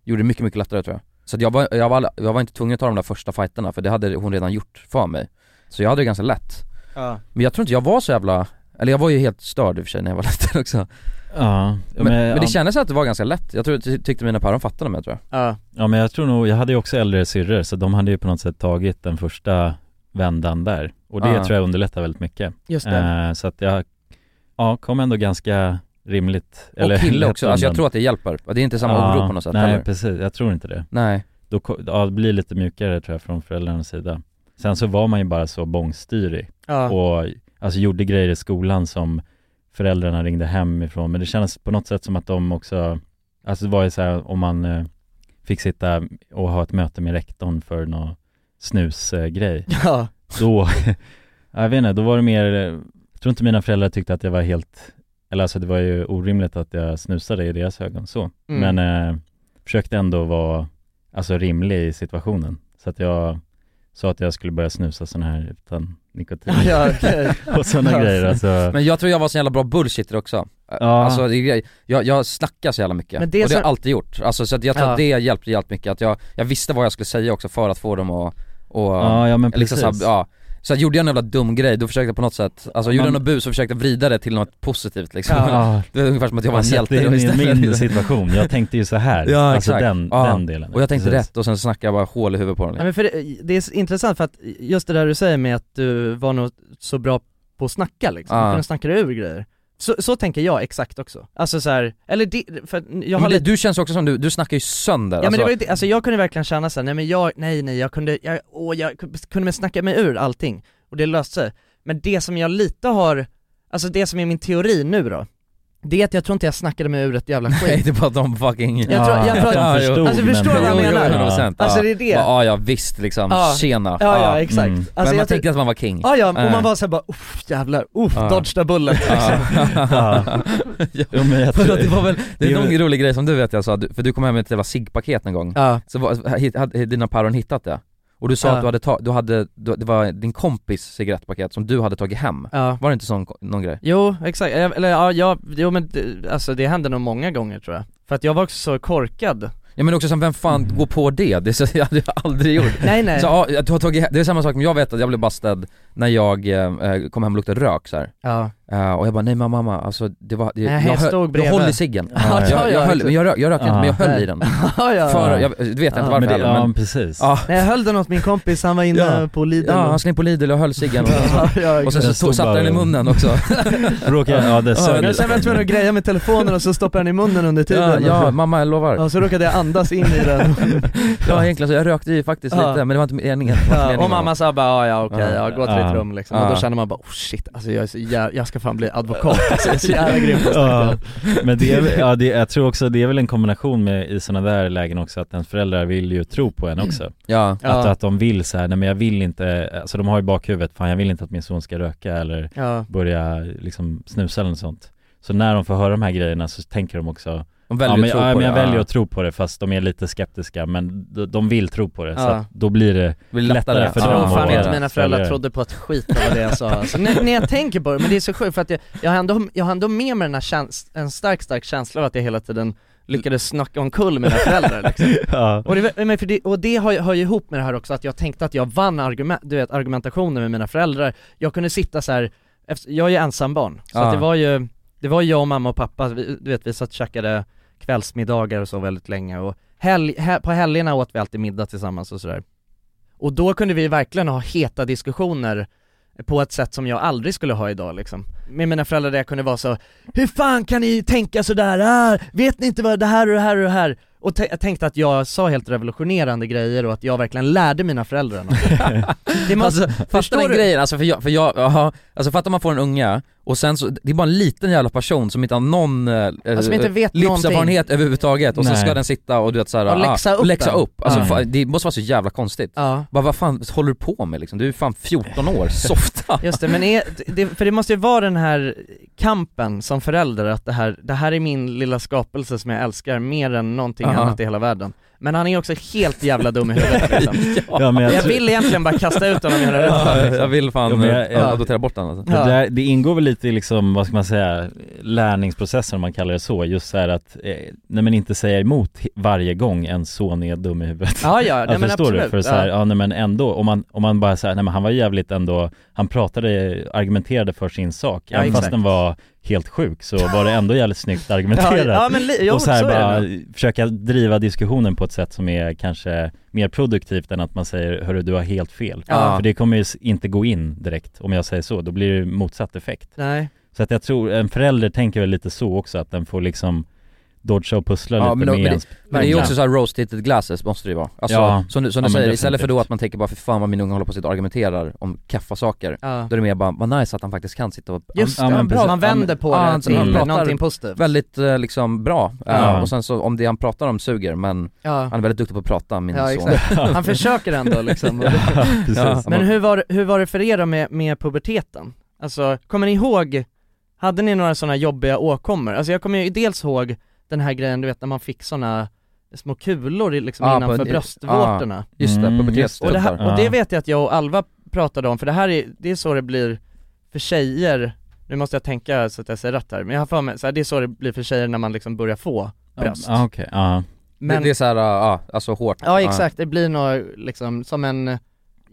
Speaker 2: gjorde det mycket mycket lättare tror jag. Så att jag, var, jag, var, jag var inte tvungen att ta de där första fighterna för det hade hon redan gjort för mig. Så jag hade det ganska lätt.
Speaker 4: ja.
Speaker 2: Men jag tror inte jag var så jävla, eller jag var ju helt störd i och för sig när jag var <laughs> liten också.
Speaker 3: Ja,
Speaker 2: Men, men, det
Speaker 3: ja,
Speaker 2: kändes att det var ganska lätt, jag tror, ty- tyckte mina päron fattade mig tror jag.
Speaker 4: ja.
Speaker 3: ja, men jag tror nog, jag hade ju också äldre syrror så de hade ju på något sätt tagit den första vändan där. Och det
Speaker 2: Ja.
Speaker 3: tror jag underlättar väldigt mycket.
Speaker 4: Just det.
Speaker 3: Eh, så att jag, ja, kom ändå ganska rimligt.
Speaker 2: Och
Speaker 3: <laughs>
Speaker 2: kille
Speaker 3: lätt
Speaker 2: också, alltså jag
Speaker 3: undan.
Speaker 2: tror att det hjälper. Det är inte samma
Speaker 3: Ja,
Speaker 2: oro på något sätt
Speaker 3: Nej,
Speaker 2: heller.
Speaker 3: precis. Jag tror inte det.
Speaker 2: Nej.
Speaker 3: då ko- ja, det blir lite mjukare tror jag från föräldrarnas sida. Sen så var man ju bara så bångstyrig
Speaker 4: Ja.
Speaker 3: och alltså gjorde grejer i skolan som föräldrarna ringde hemifrån men det kändes på något sätt som att de också, alltså det var ju så här om man eh, fick sitta och ha ett möte med rektorn för någon snusgrej,
Speaker 4: ja.
Speaker 3: då, jag vet inte, då var det mer, eh, jag tror inte mina föräldrar tyckte att jag var helt, eller alltså det var ju orimligt att jag snusade i deras ögon så.
Speaker 4: Mm.
Speaker 3: Men eh, försökte ändå vara alltså, rimlig i situationen. Så att jag sa att jag skulle börja snusa sån här utan nikotin
Speaker 4: <laughs>
Speaker 2: <laughs>
Speaker 4: ja, okej.
Speaker 3: <laughs> och sådana grejer. Alltså,
Speaker 2: Men jag tror jag var så jävla bra bullshitter också.
Speaker 3: Ja.
Speaker 2: Alltså det är grej- jag, jag snackar så jävla mycket,
Speaker 4: Men det är
Speaker 2: och det har
Speaker 4: så-
Speaker 2: jag alltid gjort. Alltså så att jag tror
Speaker 4: Ja.
Speaker 2: att det hjälpte jävligt mycket, att jag, jag visste vad jag skulle säga också för att få dem att, och,
Speaker 3: ja, ja men
Speaker 2: liksom
Speaker 3: precis.
Speaker 2: så här, ja. Så att gjorde jag en jävla dum grej, då försökte jag på något sätt, alltså gjorde jag något bus så försökte jag vrida det till något positivt liksom.
Speaker 3: Ja,
Speaker 2: Det var ungefär som att jag var en
Speaker 3: satte
Speaker 2: hjälte
Speaker 3: ah, in
Speaker 2: då
Speaker 3: i min
Speaker 2: istället.
Speaker 3: situation. Jag tänkte ju så här.
Speaker 2: <laughs> Ja,
Speaker 3: alltså
Speaker 2: exakt.
Speaker 3: den,
Speaker 2: Ja.
Speaker 3: den
Speaker 2: <laughs>
Speaker 3: delen.
Speaker 2: Och jag tänkte
Speaker 3: Precis.
Speaker 2: rätt och sen snackade jag bara hål i huvudet på dem
Speaker 4: Ja,
Speaker 2: liksom.
Speaker 4: men för det, det är så intressant för att just det där du säger med att du var nog så bra på att snacka liksom,
Speaker 2: Ja.
Speaker 4: du kunde snacka dig ur grejer så, så tänker jag exakt också, alltså så här, eller det, för att jag har
Speaker 2: Men det,
Speaker 4: lite
Speaker 2: du känns också som du, du snackar ju sönder
Speaker 4: Ja men det
Speaker 2: alltså,
Speaker 4: var ju det, alltså jag kunde verkligen känna såhär, nej men jag, nej nej jag kunde, jag, åh, jag kunde men snacka mig ur allting och det löste sig. Men det som jag lite har, alltså det som är min teori nu då, det är att jag tror inte jag snackade mig ur ett jävla
Speaker 2: Nej <laughs>
Speaker 4: skit.
Speaker 2: det var de fucking...
Speaker 4: Jag tror- jag tror att-
Speaker 3: de
Speaker 2: Ja, jo.
Speaker 3: förstod,
Speaker 4: Alltså, förstår
Speaker 3: men-
Speaker 4: du vad jag
Speaker 2: Jo, jo, <laughs>
Speaker 4: menar?
Speaker 2: 100%, ja.
Speaker 4: Alltså det är det. Ja
Speaker 2: Ja, ja visst liksom,
Speaker 4: Ja.
Speaker 2: tjena.
Speaker 4: <laughs> ja exakt.
Speaker 3: Mm.
Speaker 4: Alltså,
Speaker 2: men man
Speaker 4: jag tror-
Speaker 2: tänkte att man var king.
Speaker 4: Ja ja, och
Speaker 2: Eh.
Speaker 4: man var såhär bara, uff jävlar, uff,
Speaker 2: Ja.
Speaker 4: dodge the bullet.
Speaker 3: Ja. <laughs> Jo, men jag
Speaker 2: För
Speaker 3: tror-
Speaker 2: att det var väl, det är
Speaker 3: Det är
Speaker 2: någon rolig grej som du vet jag sa, du- för du kom hem med ett jävla ciggpaket en gång,
Speaker 4: Ja,
Speaker 2: så var, hit- hade dina päron hittat det? Och du sa
Speaker 4: Ja.
Speaker 2: att du hade, ta, du hade du, det var din kompis cigarettpaket som du hade tagit hem,
Speaker 4: ja.
Speaker 2: var det inte sån, någon grej?
Speaker 4: Jo, exakt, Eh, eller ja, jag, jo men det- alltså det hände nog många gånger tror jag. För att jag var också så korkad.
Speaker 2: Ja men också som vem fan går på det? Det är så, <laughs> jag hade jag aldrig gjort
Speaker 4: Nej <laughs> nej.
Speaker 2: Så ja, att du har tagit, he- det är samma sak, men jag vet att jag blev bastad när jag eh, eh, kom hem och luktade rök så här.
Speaker 4: Ja,
Speaker 2: Eh, och jag bara, nej mamma, mamma, alltså det var, det,
Speaker 4: Nej,
Speaker 2: jag,
Speaker 4: jag stod
Speaker 2: höll, jag
Speaker 4: bredvid.
Speaker 2: höll i ciggen.
Speaker 4: Ja, ja,
Speaker 2: jag,
Speaker 4: ja,
Speaker 2: jag, höll,
Speaker 4: exakt.
Speaker 2: jag, rök, jag rökte inte men jag höll
Speaker 4: Nej.
Speaker 2: i den.
Speaker 4: liksom. ja, ja.
Speaker 2: För, jag, du vet
Speaker 4: Ja,
Speaker 2: inte varför
Speaker 4: men det-
Speaker 2: heller,
Speaker 3: ja
Speaker 2: men
Speaker 3: men precis
Speaker 2: Ja,
Speaker 4: Nej jag höll den åt min kompis, han var inne
Speaker 2: Ja.
Speaker 4: på Lidl
Speaker 2: ja,
Speaker 4: och-
Speaker 2: han slängde på Lidl och höll ciggen och,
Speaker 4: ja,
Speaker 2: och sen så
Speaker 3: Den stod
Speaker 2: tog,
Speaker 3: bara-
Speaker 2: satte den i munnen också.
Speaker 4: <laughs>
Speaker 3: Råkade, ja det
Speaker 4: Ja,
Speaker 3: sög
Speaker 4: men sen var jag tvungen att greja med telefonen och så stoppade jag den i munnen under
Speaker 2: ja,
Speaker 4: tiden
Speaker 2: ja, mamma jag lovar.
Speaker 4: Ja, så råkade jag andas in i den
Speaker 2: Ja egentligen så jag rökte ju faktiskt
Speaker 4: Ja.
Speaker 2: lite men det var inte meningen. Det var inte
Speaker 4: <laughs> ja,
Speaker 2: meningen
Speaker 4: Och mamma sa bara "Ja, ja okej, ja, gå till
Speaker 3: Ja.
Speaker 4: ditt rum liksom Och då
Speaker 2: Ja.
Speaker 4: känner man bara oh shit, alltså jag, är så jä- jag ska fan bli advokat, alltså, jag är så jävla grym på
Speaker 3: Ja,
Speaker 4: att
Speaker 3: men det är, väl- ja, det, jag tror också det är väl en kombination med i sådana där lägen också att ens föräldrar vill ju tro på en också.
Speaker 2: Ja,
Speaker 3: Att,
Speaker 4: ja.
Speaker 3: att de vill så här, nej men jag vill inte, alltså de har ju i bakhuvudet, fan jag vill inte att min son ska röka eller
Speaker 4: ja.
Speaker 3: börja liksom snusa eller något sånt. Så när de får höra de här grejerna så tänker de också,
Speaker 2: de väljer
Speaker 3: ja men,
Speaker 2: att tro
Speaker 3: ja,
Speaker 2: på
Speaker 3: men jag
Speaker 2: det.
Speaker 3: väljer
Speaker 2: Ja.
Speaker 3: att tro på det fast de är lite skeptiska men de, de vill tro på det så
Speaker 4: Ja.
Speaker 3: att då
Speaker 2: <laughs>
Speaker 3: blir det,
Speaker 2: Det blir lättare.
Speaker 3: lättare för
Speaker 4: Jag
Speaker 3: dem
Speaker 4: tror
Speaker 3: att
Speaker 4: fan
Speaker 3: vara
Speaker 4: inte mina föräldrar
Speaker 3: ställare.
Speaker 4: trodde på ett skit av det
Speaker 3: <laughs>
Speaker 4: jag sa alltså, när, när jag tänker på det, men det är så sjukt för att jag, jag, har ändå, jag har ändå med mig den här käns- en stark stark känsla av att jag hela tiden lyckades snacka omkull mina föräldrar liksom.
Speaker 3: <laughs> ja.
Speaker 4: Och det, men för det, och det hör, ju- hör ju ihop med det här också att jag tänkte att jag vann argument, du vet, argumentationen med mina föräldrar Jag kunde sitta så här. efter- jag är ju ensambarn, så
Speaker 2: Ja.
Speaker 4: att det var ju Det var jag och mamma och pappa, vi, du vet vi satt och käkade kvällsmiddagar och så väldigt länge och helg, he, på helgerna åt vi alltid middag tillsammans och sådär Och då kunde vi verkligen ha heta diskussioner på ett sätt som jag aldrig skulle ha idag liksom. Med mina föräldrar där jag kunde vara så Hur fan kan ni tänka sådär? Ah, vet ni inte vad det här och det här och det här? Och tä- jag tänkte att jag sa helt revolutionerande grejer och att jag verkligen lärde mina föräldrar <laughs> något. det måste,
Speaker 2: Alltså fattar
Speaker 4: Förstår
Speaker 2: den
Speaker 4: du?
Speaker 2: grejen, alltså för jag, för jag, aha, alltså fattar man får en unge och sen så, det är bara en liten jävla person som inte har någon eh,
Speaker 4: som inte vet
Speaker 2: livserfarenhet överhuvudtaget och
Speaker 3: Nej.
Speaker 2: så ska den sitta och du vet såhär,
Speaker 4: Och läxa
Speaker 2: ah,
Speaker 4: upp
Speaker 2: läxa
Speaker 4: den.
Speaker 2: upp. Alltså,
Speaker 3: Ja.
Speaker 2: fa- det måste vara så jävla konstigt.
Speaker 4: ja,
Speaker 2: Bara, vad fan håller du på med liksom? Du är fan 14 år,
Speaker 4: <laughs>
Speaker 2: softa!
Speaker 4: just det, men är, det, för det måste ju vara den här kampen som förälder att det här, det här är min lilla skapelse som jag älskar mer än någonting
Speaker 2: Ja.
Speaker 4: annat i hela världen. Men han är också helt jävla dum i huvudet liksom.
Speaker 3: Ja, men jag
Speaker 4: Jag
Speaker 3: tror-
Speaker 4: vill egentligen bara kasta ut honom
Speaker 3: <laughs>
Speaker 4: och göra rätt för
Speaker 2: Ja,
Speaker 4: mig, liksom.
Speaker 2: jag vill fan
Speaker 3: Ja, men jag-
Speaker 2: eh,
Speaker 3: jag-
Speaker 2: adoptera bort den alltså.
Speaker 3: Det,
Speaker 4: Ja.
Speaker 3: där, det ingår väl lite i liksom, vad ska man säga, lärningsprocessen om man kallar det så, just så här att, eh, nej men inte säga emot he- varje gång en son är dum i huvudet.
Speaker 4: Ja, ja, nej,
Speaker 3: alltså,
Speaker 4: men
Speaker 3: förstår
Speaker 4: absolut.
Speaker 3: du? För så här,
Speaker 4: ja.
Speaker 3: ja. nej men ändå, om man, om man bara säger nej men han var jävligt ändå, han pratade, argumenterade för sin sak,
Speaker 4: Ja,
Speaker 3: även fast
Speaker 4: exakt.
Speaker 3: den var helt sjuk så var det ändå jävligt snyggt
Speaker 4: <laughs> Ja,
Speaker 3: argumenterat.
Speaker 4: ja, men li- jo,
Speaker 3: och så här
Speaker 4: är det
Speaker 3: bara
Speaker 4: nog.
Speaker 3: försöka driva diskussionen på ett sätt som är kanske mer produktivt än att man säger hörru du har helt fel.
Speaker 4: Ja.
Speaker 3: För det kommer ju s- inte gå in direkt om jag säger så, då blir det motsatt effekt.
Speaker 4: Nej.
Speaker 3: Så att jag tror, en förälder tänker väl lite så också att den får liksom dodga och pussla
Speaker 2: Ja,
Speaker 3: lite
Speaker 2: men
Speaker 3: med
Speaker 2: då- men det-
Speaker 3: ens
Speaker 2: Men det är ju
Speaker 3: Ja. <laughs>
Speaker 2: också såhär roast-heated glasses måste det ju vara. Alltså,
Speaker 3: Ja.
Speaker 2: som du, som du
Speaker 3: Ja, men
Speaker 2: säger, istället för då
Speaker 3: definitivt.
Speaker 2: att man tänker bara för fan vad min unge håller på att sitta och argumenterar om kaffa saker
Speaker 4: Ja.
Speaker 2: Då är det mer bara, vad nice att han faktiskt kan sitta och
Speaker 4: Just
Speaker 3: Ja,
Speaker 4: det,
Speaker 3: men precis.
Speaker 4: man vänder på
Speaker 2: Ja,
Speaker 4: det
Speaker 2: han-
Speaker 4: till
Speaker 2: han pratar-
Speaker 4: någonting positivt.
Speaker 2: Väldigt eh, liksom bra, Eh,
Speaker 3: Ja.
Speaker 2: och sen så om det han pratar om suger men
Speaker 4: Ja.
Speaker 2: han är väldigt duktig på att prata min
Speaker 4: Ja,
Speaker 2: son
Speaker 4: exakt. Han försöker
Speaker 3: <laughs>
Speaker 4: ändå liksom.
Speaker 3: precis.
Speaker 2: Ja.
Speaker 4: Men hur var, hur var det för er då med, med puberteten? Alltså, kommer ni ihåg, hade ni några sådana jobbiga åkommor? Alltså jag kommer ju dels ihåg den här grejen, du vet när man fick sådana små kulor i- liksom
Speaker 2: Ja, på
Speaker 4: innanför
Speaker 2: en-
Speaker 4: bröstvårtorna.
Speaker 2: Just det,
Speaker 3: Mm, just det.
Speaker 2: pubertetstubbar
Speaker 4: Och det, här, och det
Speaker 3: Ja.
Speaker 4: vet jag att jag och Alva pratade om, för det här är, det är så det blir för tjejer, nu måste jag tänka så att jag säger rätt här, men jag har för mig, så här, det är så det blir för tjejer när man liksom börjar få bröst.
Speaker 3: Ja, ah, okej, ja.
Speaker 4: Men,
Speaker 2: det, det är såhär, ja alltså hårt
Speaker 4: ja exakt, det blir nog liksom som en,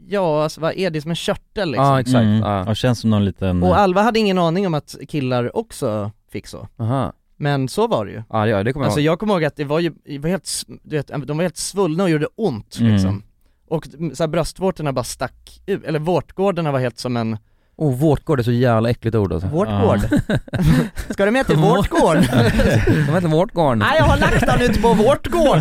Speaker 4: ja alltså, vad är det, som en körtel liksom.
Speaker 2: Ja exakt,
Speaker 3: Mm.
Speaker 2: ja.
Speaker 3: Ja, känns som någon liten...
Speaker 4: Och Alva hade ingen aning om att killar också fick så,
Speaker 2: Aha.
Speaker 4: men så var det ju.
Speaker 2: Ja, ja det kommer
Speaker 4: Alltså
Speaker 2: jag ihåg
Speaker 4: jag kommer ihåg att det var ju, det var helt, s- du vet, de var helt svullna och gjorde ont
Speaker 3: Mm.
Speaker 4: liksom. Och så här, bröstvårtorna bara stack ut, eller vårtgårdarna var helt som en
Speaker 2: Oh vårtgård är så jävla äckligt ord alltså
Speaker 4: Vårt
Speaker 3: Ja.
Speaker 4: gård? Ska du med till vårt gård?
Speaker 2: De heter vårtgård
Speaker 4: Nej jag har lagt den ute på
Speaker 3: <laughs>
Speaker 4: vårt gård!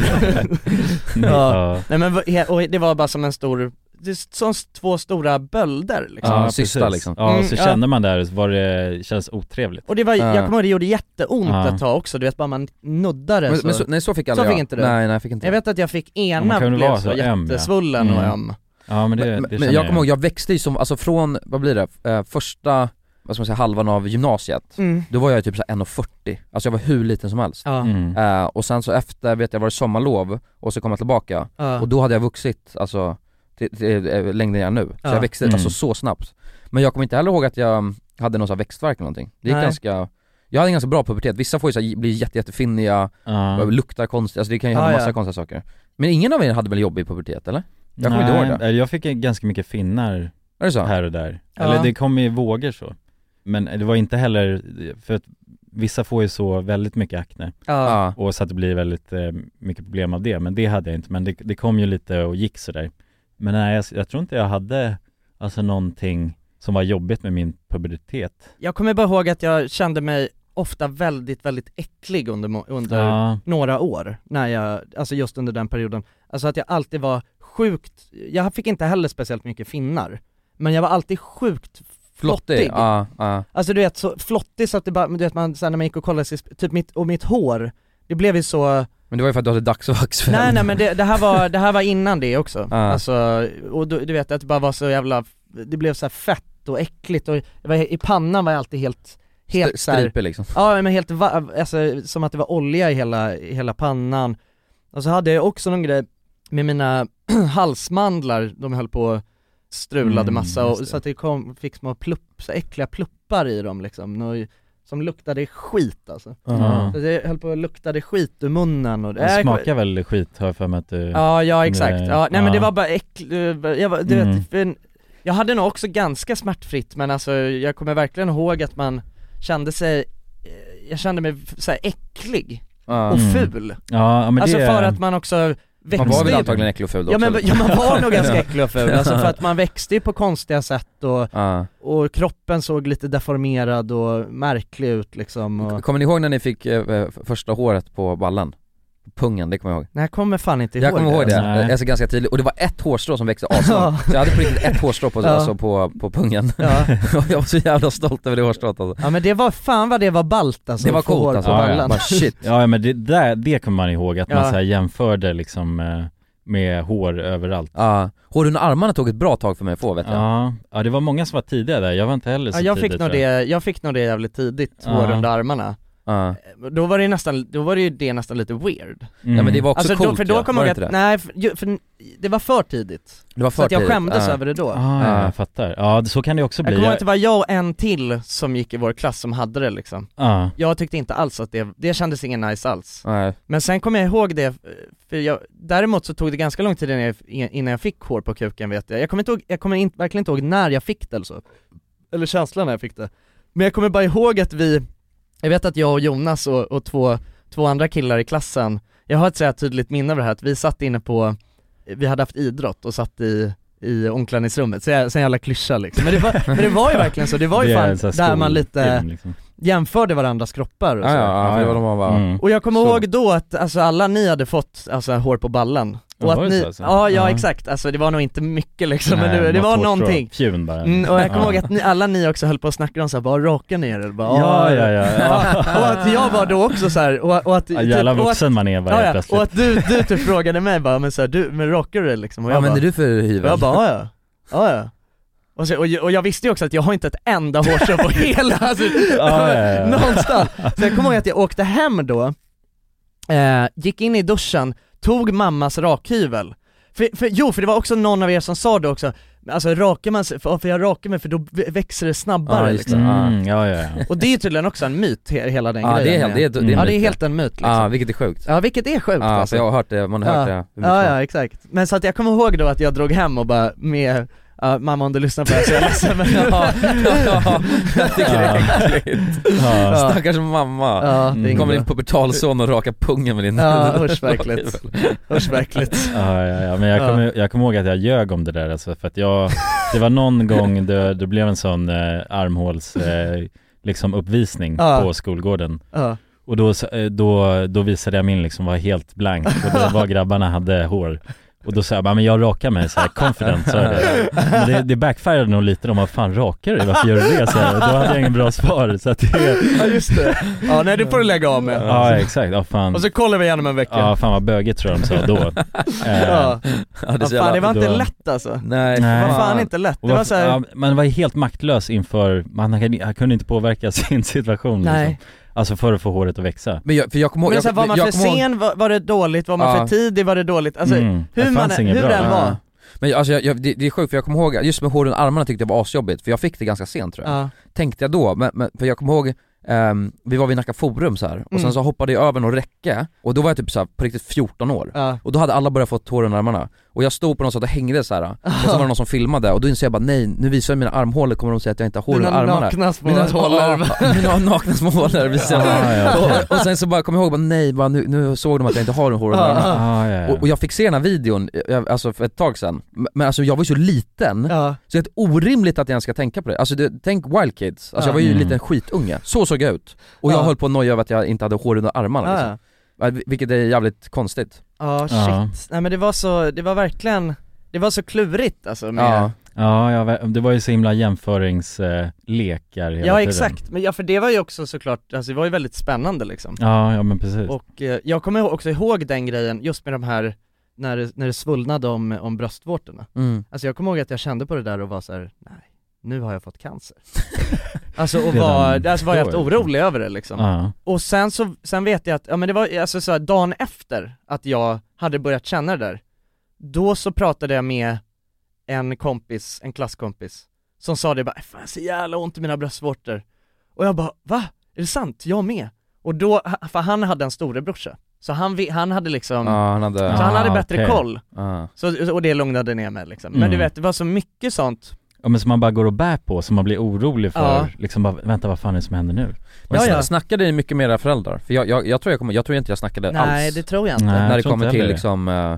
Speaker 3: ja.
Speaker 4: <laughs> Nej men vad- he- och det var bara som en stor, det är som s- två stora bölder liksom.
Speaker 2: Ja,
Speaker 3: precis.
Speaker 2: sista liksom.
Speaker 3: Ja,
Speaker 4: Mm,
Speaker 3: så
Speaker 4: ja.
Speaker 3: kände man där, så var det, känns otrevligt.
Speaker 4: Och det var, jag
Speaker 2: Ja.
Speaker 4: kommer ihåg det gjorde jätteont
Speaker 3: Ja.
Speaker 4: ett tag också, du vet bara man nuddade
Speaker 2: men,
Speaker 4: så.
Speaker 2: men så, nej så fick aldrig
Speaker 4: alltså. Så fick
Speaker 2: jag.
Speaker 4: inte du?
Speaker 2: Nej nej jag fick inte
Speaker 4: Jag vet att jag fick
Speaker 3: Ja,
Speaker 4: ena
Speaker 3: man kan väl
Speaker 4: blev
Speaker 3: vara
Speaker 4: så,
Speaker 3: så öm, ja.
Speaker 4: jättesvullen och
Speaker 3: Mm.
Speaker 4: öm
Speaker 3: Ja men det,
Speaker 2: men,
Speaker 3: det
Speaker 2: men
Speaker 3: känner
Speaker 2: jag kommer ihåg, jag växte ju som, alltså från, vad blir det, eh, första, vad ska man säga, halvan av gymnasiet
Speaker 4: mm.
Speaker 2: Då var jag typ så här 1,40, alltså jag var hur liten som helst
Speaker 4: ja.
Speaker 3: Mm.
Speaker 2: Eh, Och sen så efter, vet jag, var det sommarlov och så kom jag tillbaka
Speaker 4: Ja.
Speaker 2: och då hade jag vuxit, alltså till, till, eh, längden jag är nu. Så
Speaker 4: Ja.
Speaker 2: jag växte
Speaker 3: Mm.
Speaker 2: alltså så snabbt Men jag kommer inte heller ihåg att jag hade någon sån här växtvärk eller någonting Det gick
Speaker 4: Nej.
Speaker 2: ganska jag hade en ganska bra pubertet, vissa får ju så här, bli jätte, jättefinniga,
Speaker 3: Ja.
Speaker 2: luktar konstigt, alltså det kan ju
Speaker 4: Ja,
Speaker 2: hända
Speaker 4: ja.
Speaker 2: massa konstiga saker Men ingen av er hade väl jobbig pubertet eller? jag kommer
Speaker 3: Nej,
Speaker 2: inte ihåg
Speaker 3: Jag fick ganska mycket finnar
Speaker 2: Är det så?
Speaker 3: här och där.
Speaker 4: Ja.
Speaker 3: Eller det kom i vågor så. Men det var inte heller, för att vissa får ju så väldigt mycket akne
Speaker 4: Ja.
Speaker 3: och så att det blir väldigt eh, mycket problem av det, men det hade jag inte, men det, det kom ju lite och gick sådär Men nej, jag, jag tror inte jag hade, alltså någonting som var jobbigt med min pubertet
Speaker 4: Jag kommer bara ihåg att jag kände mig ofta väldigt, väldigt äcklig under, må- under
Speaker 2: Äh,
Speaker 3: Ja.
Speaker 4: några år, när jag, alltså just under den perioden. Alltså att jag alltid var sjukt, jag fick inte heller speciellt mycket finnar, men jag var alltid sjukt flottig.
Speaker 2: Flottig, ja, ja
Speaker 4: Alltså du vet, så flottig så att det bara, men du vet man, så här, när man gick och kollade sig, typ mitt, och mitt hår, det blev ju så,
Speaker 2: Men det var ju för att du hade dagsvax <laughs>
Speaker 4: nej nej men det, det, här, var, det här var innan det också.
Speaker 2: Ja.
Speaker 4: Alltså, och du, du vet att det bara var så jävla, det blev så här fett och äckligt och jag var, i pannan var jag alltid helt, helt så här,
Speaker 2: Striper liksom
Speaker 4: Ja men helt va- alltså som att det var olja i hela, i hela pannan. Och så hade jag också någon grej med mina <clears throat> halsmandlar, de höll på och strulade
Speaker 3: Mm,
Speaker 4: massa
Speaker 3: just
Speaker 4: och
Speaker 3: det.
Speaker 4: så att det kom, fick små plupp, så äckliga pluppar i dem liksom, och, som luktade skit alltså.
Speaker 3: Ja.
Speaker 4: Så det höll på och luktade skit ur munnen och det
Speaker 3: Det smakar väl skit har jag för mig
Speaker 2: typ.
Speaker 3: att du
Speaker 4: Ja, ja exakt. Ja, nej men det
Speaker 3: Ja.
Speaker 4: var bara äckligt, jag, var- du
Speaker 3: Mm.
Speaker 4: vet, för- jag hade nog också ganska smärtfritt men alltså jag kommer verkligen ihåg att man kände sig, eh, jag kände mig f- så här äcklig
Speaker 2: Ja.
Speaker 4: och
Speaker 3: Mm.
Speaker 4: ful.
Speaker 3: Ja, ja, men
Speaker 4: alltså
Speaker 3: det
Speaker 4: för att man också växte
Speaker 2: Man var väl
Speaker 4: ju-
Speaker 2: antagligen äcklig och ful då
Speaker 4: Ja men
Speaker 2: också.
Speaker 4: ja, man var
Speaker 2: <laughs>
Speaker 4: nog ganska äcklig och ful, alltså för att man växte ju på konstiga sätt och,
Speaker 2: Ja.
Speaker 4: och kroppen såg lite deformerad och märklig ut liksom och,
Speaker 2: Kommer ni ihåg när ni fick eh, f- första håret på ballen? På Pungen, det kommer jag ihåg
Speaker 4: nej jag kommer fan inte ihåg
Speaker 2: Jag kommer ihåg det,
Speaker 3: Nej.
Speaker 2: jag ser ganska tydligt, och det var ett hårstrå som växte aslångt Så jag hade på riktigt ett hårstrå på,
Speaker 4: <laughs> Ja.
Speaker 2: alltså, på, på pungen <laughs>
Speaker 4: Ja.
Speaker 2: Och jag var så jävla stolt över det hårstrået alltså.
Speaker 4: ja men det var, fan vad det var ballt alltså
Speaker 2: Det var
Speaker 4: att få hår
Speaker 2: coolt alltså,
Speaker 4: på
Speaker 3: Ja, ja.
Speaker 4: ballen.
Speaker 2: bara shit
Speaker 3: Ja ja, men det där, det kommer man ihåg, att
Speaker 4: Ja.
Speaker 3: man så här jämförde liksom eh, med hår överallt
Speaker 2: Ja, hår under armarna tog ett bra tag för mig att få vet jag
Speaker 3: Ja, ja det var många som var tidiga där, jag var inte heller så
Speaker 4: Ja, jag,
Speaker 3: tidig,
Speaker 4: fick nog
Speaker 3: tror jag.
Speaker 4: det, jag fick nog det jävligt tidigt,
Speaker 3: Ja.
Speaker 4: hår under armarna.
Speaker 2: Ja,
Speaker 4: Då var det ju nästan, då var det ju det nästan lite weird.
Speaker 3: Mm.
Speaker 2: ja men det var också coolt
Speaker 4: Alltså, då, för då
Speaker 2: ja.
Speaker 4: kom
Speaker 2: var
Speaker 4: jag
Speaker 2: det
Speaker 4: att,
Speaker 2: inte det?
Speaker 4: nej, för, ju- för det var för tidigt.
Speaker 2: det var
Speaker 4: så att jag
Speaker 2: tidigt.
Speaker 4: skämdes
Speaker 2: Ja.
Speaker 4: över det då.
Speaker 3: Ah, ja, jag fattar. Ja, så kan det också
Speaker 4: Jag
Speaker 3: bli.
Speaker 4: kommer ihåg att det var jag och en till som gick i vår klass som hade det liksom.
Speaker 3: ja.
Speaker 4: Jag tyckte inte alls att det, det kändes ingen nice alls.
Speaker 2: Nej.
Speaker 4: Men sen kommer jag ihåg det, eh, för jag, däremot så tog det ganska lång tid innan jag, innan jag fick hår på kuken vet jag. Jag kommer, inte ihåg, jag kommer inte, verkligen inte ihåg när jag fick det eller så. Eller känslan när jag fick det. Men jag kommer bara ihåg att vi, jag vet att jag och Jonas och, och två, två andra killar i klassen, jag har ett så här tydligt minne av det här att vi satt inne på, vi hade haft idrott och satt i i omklädningsrummet, så jag, så en jävla klyscha liksom. Men det, var, men det var ju verkligen så, det var ju
Speaker 3: är
Speaker 4: fan
Speaker 3: en sån här
Speaker 4: där man lite
Speaker 3: skolfilm, liksom.
Speaker 4: jämförde varandras kroppar och
Speaker 2: Ja,
Speaker 4: så.
Speaker 2: ja, ja, för det var de man bara,
Speaker 3: Mm.
Speaker 4: Och jag kommer
Speaker 2: Så.
Speaker 4: ihåg då att alltså, alla ni hade fått alltså, hår på ballen.
Speaker 3: Ja,
Speaker 4: Och
Speaker 3: var
Speaker 4: att
Speaker 3: det
Speaker 4: ni,
Speaker 3: så alltså?
Speaker 4: ja, ja
Speaker 3: Ja.
Speaker 4: exakt, alltså det var nog inte mycket liksom, men
Speaker 3: Nej,
Speaker 4: det, det
Speaker 3: något
Speaker 4: var
Speaker 3: hårstrå.
Speaker 4: någonting.
Speaker 3: Fjun bara.
Speaker 4: Mm, och jag kommer
Speaker 3: Ja.
Speaker 4: ihåg att ni, alla ni också höll på att snacka om såhär, bara raka ner er, bara,
Speaker 3: Ja,
Speaker 4: "Ah."
Speaker 3: ja, ja.
Speaker 4: Ja, Och att jag var då också såhär, och, och att... typ,
Speaker 3: Ja, jävla
Speaker 4: och att,
Speaker 3: vuxen man är bara
Speaker 4: ja,
Speaker 3: helt
Speaker 4: ja,
Speaker 3: plötsligt.
Speaker 4: och att du, du typ frågade mig bara, men såhär, du, men rakar du dig liksom? Och
Speaker 2: vad
Speaker 4: jag bara,
Speaker 2: använder du för
Speaker 4: och jag
Speaker 2: hyvel?
Speaker 4: bara, "Ja, ja, ja, Ah, ja. Och, så, och, jag- och jag visste ju också att jag har inte ett enda
Speaker 2: <laughs>
Speaker 4: hårstrå på hela, alltså,
Speaker 2: Ah,
Speaker 3: Ja, ja, ja.
Speaker 4: <laughs> någonstans. Så jag kommer ihåg att jag åkte hem då, eh, gick in i duschen, tog mammas rakhyvel. För, för, jo, för det var också någon av er som sa det också, alltså rakar man sig, för, för jag rakar mig för då växer det snabbare
Speaker 2: Ja, Ah, just det.
Speaker 4: liksom.
Speaker 3: Mm, ja, ja, ja.
Speaker 4: Och det är ju tydligen också en myt, he, hela den
Speaker 2: Ja, det är
Speaker 4: grejen.
Speaker 2: helt-
Speaker 4: med-
Speaker 2: det är- det
Speaker 3: är
Speaker 4: ja,
Speaker 3: en
Speaker 4: det är
Speaker 3: myt,
Speaker 4: helt en myt liksom.
Speaker 2: Ja,
Speaker 4: Ja,
Speaker 2: vilket är sjukt
Speaker 4: vilket är sjukt
Speaker 2: Ja,
Speaker 4: alltså.
Speaker 2: för jag har hört det, man har hört
Speaker 4: Ja.
Speaker 2: det
Speaker 4: Ja, ja exakt. Men så att jag kommer ihåg då att jag drog hem och bara med, ja, mamma om du lyssnar på det här så är jag ledsen <laughs> men ja, <laughs>
Speaker 2: ja, jag tycker det är äckligt
Speaker 3: Ja.
Speaker 2: Stackars mamma
Speaker 4: ja, det är
Speaker 2: Kommer
Speaker 4: inget
Speaker 2: din
Speaker 4: bra.
Speaker 2: pubertalson och raka pungen med din
Speaker 4: Ja
Speaker 2: <laughs>
Speaker 4: usch verkligt, usch verkligt.
Speaker 3: Ja, ja, ja, men jag
Speaker 4: Ja.
Speaker 3: kommer jag kommer ihåg att jag ljög om det där alltså, för att jag, det var
Speaker 4: <laughs>
Speaker 3: någon gång det, det blev en sån eh, armhåls, eh, liksom uppvisning
Speaker 4: Ja.
Speaker 3: på skolgården.
Speaker 4: Ja.
Speaker 3: Och då, sa- eh, då, då visade jag min liksom var helt blank och det
Speaker 4: <laughs>
Speaker 3: var grabbarna hade hår och då sa jag bara, men jag rakar mig såhär confident så det. Men det, det backfirade nog lite, de bara fan rakar du dig? Varför gör du det? Så här, och då hade jag ingen bra svar så att det,
Speaker 4: ja just det, ja nej det får du lägga av med.
Speaker 3: ja exakt, ja fan
Speaker 4: Och så kollar vi igenom en vecka.
Speaker 3: Ja fan vad böget tror jag de sa då Eh,
Speaker 4: Ja.
Speaker 2: Ja,
Speaker 4: Ja,
Speaker 2: så
Speaker 4: fan det var inte
Speaker 3: då-
Speaker 4: lätt alltså.
Speaker 2: Nej,
Speaker 4: Det
Speaker 3: Nej.
Speaker 4: var fan inte lätt,
Speaker 3: och
Speaker 4: det var
Speaker 3: varför-
Speaker 4: såhär,
Speaker 3: ja, man var ju helt maktlös inför, man kan- han kunde inte påverka <laughs> sin situation
Speaker 4: nej.
Speaker 3: Liksom. Alltså för att få håret att växa
Speaker 2: Men jag, för jag kommer ihåg,
Speaker 4: Men såhär,
Speaker 2: jag,
Speaker 4: var man
Speaker 2: jag
Speaker 4: för
Speaker 2: kommer ihåg-
Speaker 4: sen, var, var det dåligt, var man
Speaker 2: Ja.
Speaker 4: för tidig, var det dåligt? Alltså
Speaker 3: Mm.
Speaker 4: hur
Speaker 3: Det
Speaker 4: man,
Speaker 3: fanns inget
Speaker 4: hur
Speaker 3: bra.
Speaker 4: den var.
Speaker 2: Ja. Men jag- alltså jag, jag, det, det är sjukt för jag kommer ihåg, just med hår under armarna tyckte jag var asjobbigt för jag fick det ganska sent tror jag
Speaker 4: Ja.
Speaker 2: Tänkte jag då, men, men för jag kommer ihåg ehm, vi var vid Nacka Forum så här. och sen
Speaker 4: Mm.
Speaker 2: så hoppade jag över något räcke och då var jag typ så här, på riktigt 14 år.
Speaker 4: Ja.
Speaker 2: Och då hade alla börjat få tår under armarna, och jag stod på något sätt och hängde så här.
Speaker 4: Ah.
Speaker 2: och sen var det någon som filmade och då insåg jag bara nej, nu visar jag mina armhålor kommer de säga att jag inte har hår under
Speaker 4: Dina
Speaker 2: armarna
Speaker 4: nakna små
Speaker 2: Mina-
Speaker 4: hålor.
Speaker 2: <laughs> Ja, Mina nakna små hålor visar jag.
Speaker 3: Ah, ja, okej.
Speaker 2: och, och sen så bara kom jag ihåg, bara, nej bara, nu, nu såg de att jag inte har hår under
Speaker 4: <laughs> Ja.
Speaker 2: armarna
Speaker 3: Ah, ja, ja.
Speaker 2: och, och jag fick se den här videon, jag, alltså för ett tag sedan, M- men alltså jag var ju så liten
Speaker 4: Ja.
Speaker 2: så det är helt orimligt att jag ens ska tänka på det. Alltså det, tänk Wild Kids, alltså jag var ju en
Speaker 3: Mm.
Speaker 2: liten skitunge, så såg jag ut. Och jag
Speaker 4: Ja.
Speaker 2: höll på att noja över att jag inte hade hår under armarna liksom.
Speaker 4: Ja,
Speaker 2: Ja, vil- Vilket är jävligt konstigt.
Speaker 4: ja shit.
Speaker 3: Ja.
Speaker 4: Nej men det var så, det var verkligen, det var så klurigt alltså med
Speaker 2: Ja.
Speaker 3: Ja, ja, ver- det var ju så himla jämföringslekar hela
Speaker 4: Ja
Speaker 3: tiden.
Speaker 4: exakt, men ja, för det var ju också såklart, alltså det var ju väldigt spännande liksom
Speaker 3: Ja, ja men precis.
Speaker 4: Och eh, jag kommer ihå- också ihåg den grejen, just med de här, när, det- när det svullnade om, om bröstvårtorna
Speaker 2: Mm.
Speaker 4: Alltså jag kommer ihåg att jag kände på det där och var så här: nej, nu har jag
Speaker 3: <laughs>
Speaker 4: fått cancer Alltså och
Speaker 3: Redan
Speaker 4: var, alltså var jag helt
Speaker 3: då,
Speaker 4: orolig över det liksom
Speaker 3: Ja,
Speaker 4: Och sen så, sen vet jag att, ja men det var alltså så här, dagen efter att jag hade börjat känna det där Då så pratade jag med en kompis, en klasskompis Som sa det bara, "Äh, fan jag har så jävla ont i mina bröstvårtor Och jag bara, va? Är det sant? Jag med? Och då, för han hade en storebrorsa Så han, vi- han hade liksom,
Speaker 2: Ja, han hade...
Speaker 4: så han hade
Speaker 3: Ah,
Speaker 4: bättre
Speaker 3: okej.
Speaker 4: koll
Speaker 2: Ja.
Speaker 4: så, och det lugnade ner mig liksom. Men
Speaker 3: Mm.
Speaker 4: du vet, det var så mycket sånt
Speaker 3: ja men som man bara går och bär på, som man blir orolig för,
Speaker 4: Ja.
Speaker 3: liksom bara, vänta vad fan är det som händer nu?
Speaker 2: Men
Speaker 4: Ja, ja.
Speaker 2: snackade ni mycket med era föräldrar? För jag, jag, jag tror jag kommer, jag tror inte jag snackade
Speaker 4: Nej
Speaker 2: alls.
Speaker 4: det tror jag inte
Speaker 3: Nej,
Speaker 2: när
Speaker 3: jag
Speaker 2: det
Speaker 3: tror
Speaker 2: kommer
Speaker 3: inte
Speaker 2: till
Speaker 3: heller det.
Speaker 2: liksom, eh,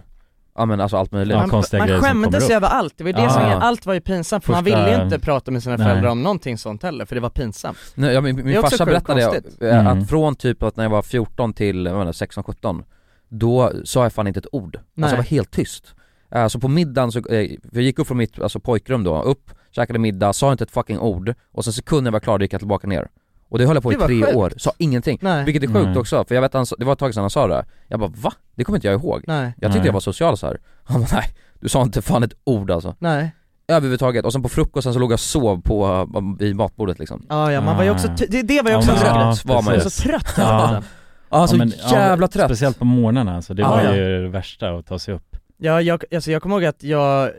Speaker 2: ja men alltså allt möjligt.
Speaker 3: Ja,
Speaker 4: Man,
Speaker 3: konstiga
Speaker 4: man
Speaker 3: grejer som kommer
Speaker 4: skämdes
Speaker 3: upp.
Speaker 4: ju över allt, det var ju det
Speaker 2: Ja.
Speaker 4: som, allt var ju pinsamt för man
Speaker 3: Första-
Speaker 4: ville ju inte prata med sina
Speaker 3: Nej.
Speaker 4: föräldrar om någonting sånt heller för det var pinsamt
Speaker 2: Nej, ja, min
Speaker 4: Det
Speaker 2: min
Speaker 4: är också
Speaker 2: farsa
Speaker 4: sjukt
Speaker 2: berättade
Speaker 4: konstigt.
Speaker 2: eh,
Speaker 3: Mm.
Speaker 2: att från typ att när jag var 14 till jag menar, 16, 17 Då sa jag fan inte ett ord,
Speaker 4: Nej.
Speaker 2: alltså jag var helt tyst Eh, Så på middagen så, eh, för jag gick upp från mitt alltså, pojkrum då, upp, käkade middag, sa inte ett fucking ord Och sen sekunden jag var klar då gick jag tillbaka ner Och det höll jag på i
Speaker 4: Det var
Speaker 2: tre
Speaker 4: sjukt.
Speaker 2: år, sa ingenting
Speaker 4: Nej.
Speaker 2: Vilket är sjukt
Speaker 3: Nej.
Speaker 2: också, för jag vet han, sa- det var ett tag sedan han sa det Jag bara va? Det kommer inte jag ihåg
Speaker 4: Nej,
Speaker 2: Jag tyckte
Speaker 3: Nej.
Speaker 2: jag var social så här. Han bara nej, du sa inte fan ett ord alltså
Speaker 4: nej,
Speaker 2: Överhuvudtaget, och sen på frukosten så låg jag och sov på, eh, vid matbordet liksom
Speaker 4: ja, ja man var ju också, ty- det, det var ju
Speaker 3: Ah. Ja,
Speaker 4: också
Speaker 3: men-
Speaker 4: trött,
Speaker 3: ja,
Speaker 2: var man ju.
Speaker 4: så
Speaker 3: precis.
Speaker 4: trött
Speaker 3: Ja.
Speaker 4: ja.
Speaker 2: Ja, så
Speaker 3: men-
Speaker 2: jävla
Speaker 3: ja,
Speaker 2: trött!
Speaker 3: Speciellt på morgnarna alltså, det
Speaker 4: Ja,
Speaker 3: var
Speaker 4: ja.
Speaker 3: ju det värsta att ta sig upp.
Speaker 4: ja, jag, alltså jag kommer ihåg att jag,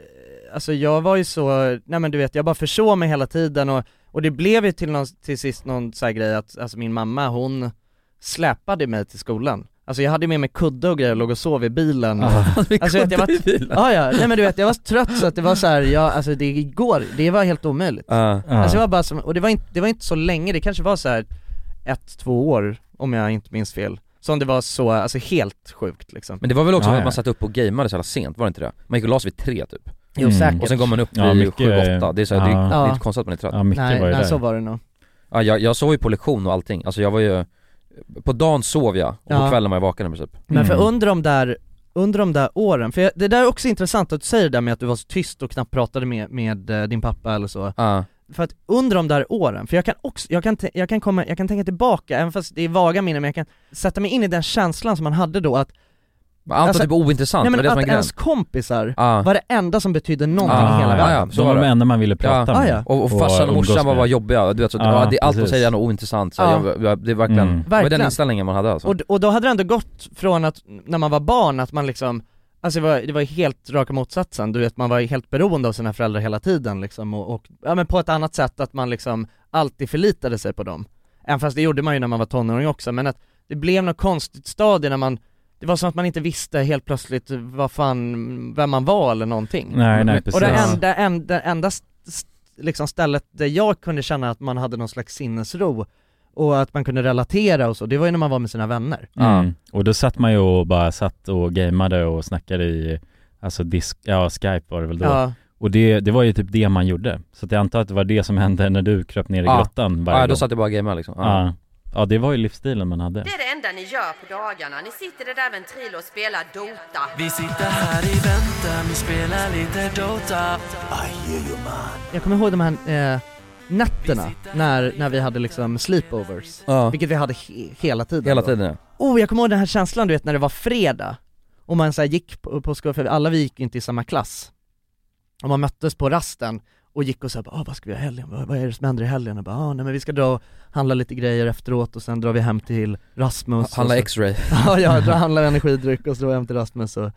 Speaker 4: alltså jag var ju så, nej men du vet jag bara försov mig hela tiden och, och det blev ju till, någon, till sist någon sån här grej att, alltså min mamma hon släpade mig till skolan Alltså jag hade med mig kudde och grejer och låg och sov i bilen Alltså, jag var- Ja, ja, nej men du vet jag var så trött så att det var så här, ja, alltså det går, det var helt omöjligt
Speaker 2: Ja.
Speaker 3: Ja.
Speaker 4: Alltså det var bara som, och det var, inte, det var inte så länge, det kanske var så här ett, två år om jag inte minns fel Som det var så, alltså helt sjukt liksom
Speaker 2: Men det var väl också
Speaker 3: Ja,
Speaker 2: att
Speaker 3: ja.
Speaker 2: man satt upp och gameade så jävla sent, var det inte det? Man gick och la sig vid tre typ,
Speaker 4: Jo
Speaker 3: Mm.
Speaker 4: säkert
Speaker 2: och sen går man upp
Speaker 3: Ja,
Speaker 2: vid
Speaker 3: mycket-
Speaker 2: sju, åtta, det är så här, det, är,
Speaker 3: Ja.
Speaker 2: det är
Speaker 4: Ja.
Speaker 2: inte konstigt att man är trött
Speaker 3: Ja mycket
Speaker 4: Nej,
Speaker 3: var ju
Speaker 4: nej
Speaker 3: där.
Speaker 4: så var det nog
Speaker 2: ja, jag, jag sov ju på lektion och allting, alltså jag var ju, på dagen sov jag, och
Speaker 4: Ja.
Speaker 2: på kvällen var jag vaken typ. i princip
Speaker 4: Men för
Speaker 3: Mm.
Speaker 4: under de där, under de där åren, för jag, det där är också intressant att du säger det där med att du var så tyst och knappt pratade med, med eh, din pappa eller så
Speaker 2: Ja,
Speaker 4: För att under de där åren, för jag kan också, jag kan, te- jag kan komma, jag kan tänka tillbaka, även fast det är vaga minnen, men jag kan sätta mig in i den känslan som man hade då att,
Speaker 2: Men allt
Speaker 4: Alltså-
Speaker 2: var typ ointressant,
Speaker 4: nej
Speaker 2: det
Speaker 4: men
Speaker 2: var det som
Speaker 4: att
Speaker 2: var grejen
Speaker 4: ens kompisar
Speaker 2: Ja.
Speaker 4: var det enda som betydde någonting i
Speaker 3: Ah,
Speaker 4: hela
Speaker 3: ja,
Speaker 4: världen.
Speaker 2: ja, så
Speaker 3: de var
Speaker 2: var det.
Speaker 3: de enda man ville prata
Speaker 4: Ja,
Speaker 3: med.
Speaker 4: ja.
Speaker 2: Och, och farsan och
Speaker 3: umgås
Speaker 2: morsan var,
Speaker 3: med.
Speaker 2: var jobbiga, du vet, så,
Speaker 3: Ja,
Speaker 2: ja, det, allt de
Speaker 3: precis.
Speaker 2: säger är nog ointressant så,
Speaker 4: Ja.
Speaker 2: jag, jag, det är verkligen,
Speaker 3: Mm.
Speaker 2: det var den
Speaker 4: Verkligen.
Speaker 2: inställningen man hade alltså
Speaker 4: Och, och då hade det ändå gått från att, när man var barn, att man liksom Alltså det var, det var helt raka motsatsen, du vet man var helt beroende av sina föräldrar hela tiden liksom och, och ja men på ett annat sätt att man liksom alltid förlitade sig på dem. Även fast det gjorde man ju när man var tonåring också men att det blev något konstigt stadie när man, det var som att man inte visste helt plötsligt vad fan, vem man var eller någonting.
Speaker 3: Nej, nej precis.
Speaker 4: och det enda, enda, enda st- st- liksom stället där jag kunde känna att man hade någon slags sinnesro och att man kunde relatera och så, det var ju när man var med sina vänner.
Speaker 3: Mm. Och då satt man ju och bara satt och gameade och snackade i, alltså disk, ja Skype var det väl då.
Speaker 4: Ja,
Speaker 3: Och det, det var ju typ det man gjorde. Så att jag antar att det var det som hände när du kröp ner i
Speaker 2: Ja.
Speaker 3: grottan varje
Speaker 2: Ja, då
Speaker 3: gång.
Speaker 2: satt jag bara och gameade liksom, ja.
Speaker 3: ja. ja, det var ju livsstilen man hade.
Speaker 10: Det är det enda ni gör på dagarna. Ni sitter det där ventrilo och spelar Dota.
Speaker 4: jag kommer ihåg de här eh, nätterna när, när vi hade liksom sleepovers,
Speaker 2: Ja.
Speaker 4: vilket vi hade he- hela tiden
Speaker 2: Hela
Speaker 4: då.
Speaker 2: tiden ja.
Speaker 4: Oh, jag kommer ihåg den här känslan du vet när det var fredag och man så här gick på, på skolan, för alla vi gick ju inte i samma klass och man möttes på rasten och gick och sa ah, vad ska vi göra i helgen, vad, vad är det som händer i helgen? Och bara, ah, nej men vi ska dra och handla lite grejer efteråt och sen drar vi hem till Rasmus och
Speaker 2: Handla
Speaker 4: så- <laughs>
Speaker 2: x-ray
Speaker 4: Ja, ja, då handlar vi energidryck och så drar jag hem till Rasmus och,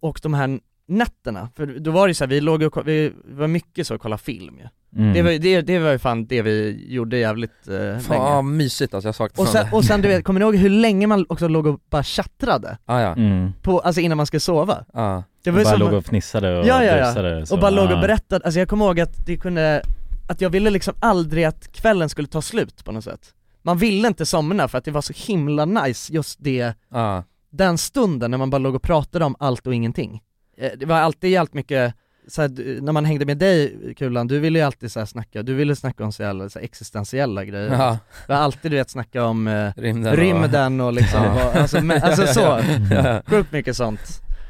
Speaker 4: och de här nätterna, för då var det så här, vi låg och ko- vi var mycket så och kollade film ju.
Speaker 2: Mm.
Speaker 4: Det, var, ju- det, det var ju fan det vi gjorde jävligt eh, länge.
Speaker 2: Fan vad mysigt alltså, jag saknar
Speaker 4: Och sen,
Speaker 2: det.
Speaker 4: och sen du vet, kommer ni ihåg hur länge man också låg och bara tjattrade?
Speaker 2: Ah, ja.
Speaker 3: Mm.
Speaker 4: På, alltså innan man skulle sova?
Speaker 2: Ja.
Speaker 4: Det
Speaker 3: bara
Speaker 4: som-
Speaker 3: låg och fnissade och
Speaker 4: ja, ja,
Speaker 3: busade
Speaker 4: ja.
Speaker 3: så.
Speaker 4: och bara låg och
Speaker 3: Ah.
Speaker 4: berättade, alltså jag kommer ihåg att det kunde, att jag ville liksom aldrig att kvällen skulle ta slut på något sätt Man ville inte somna för att det var så himla nice just det,
Speaker 2: Ja.
Speaker 4: den stunden när man bara låg och pratade om allt och ingenting Eh, Det var alltid jävligt mycket, så här, du- när man hängde med dig Kulan, du ville ju alltid så här snacka, du ville snacka om så jävla, så här, existentiella grejer
Speaker 2: Ja.
Speaker 4: Det var alltid du vet snacka om eh,
Speaker 2: Rymden. och-
Speaker 4: rymden
Speaker 3: <laughs>
Speaker 4: och liksom,
Speaker 2: Ja.
Speaker 4: vad- alltså, men, alltså så
Speaker 2: Ja,
Speaker 3: Mm.
Speaker 2: ja, <laughs> ja.
Speaker 4: Sjukt mycket sånt.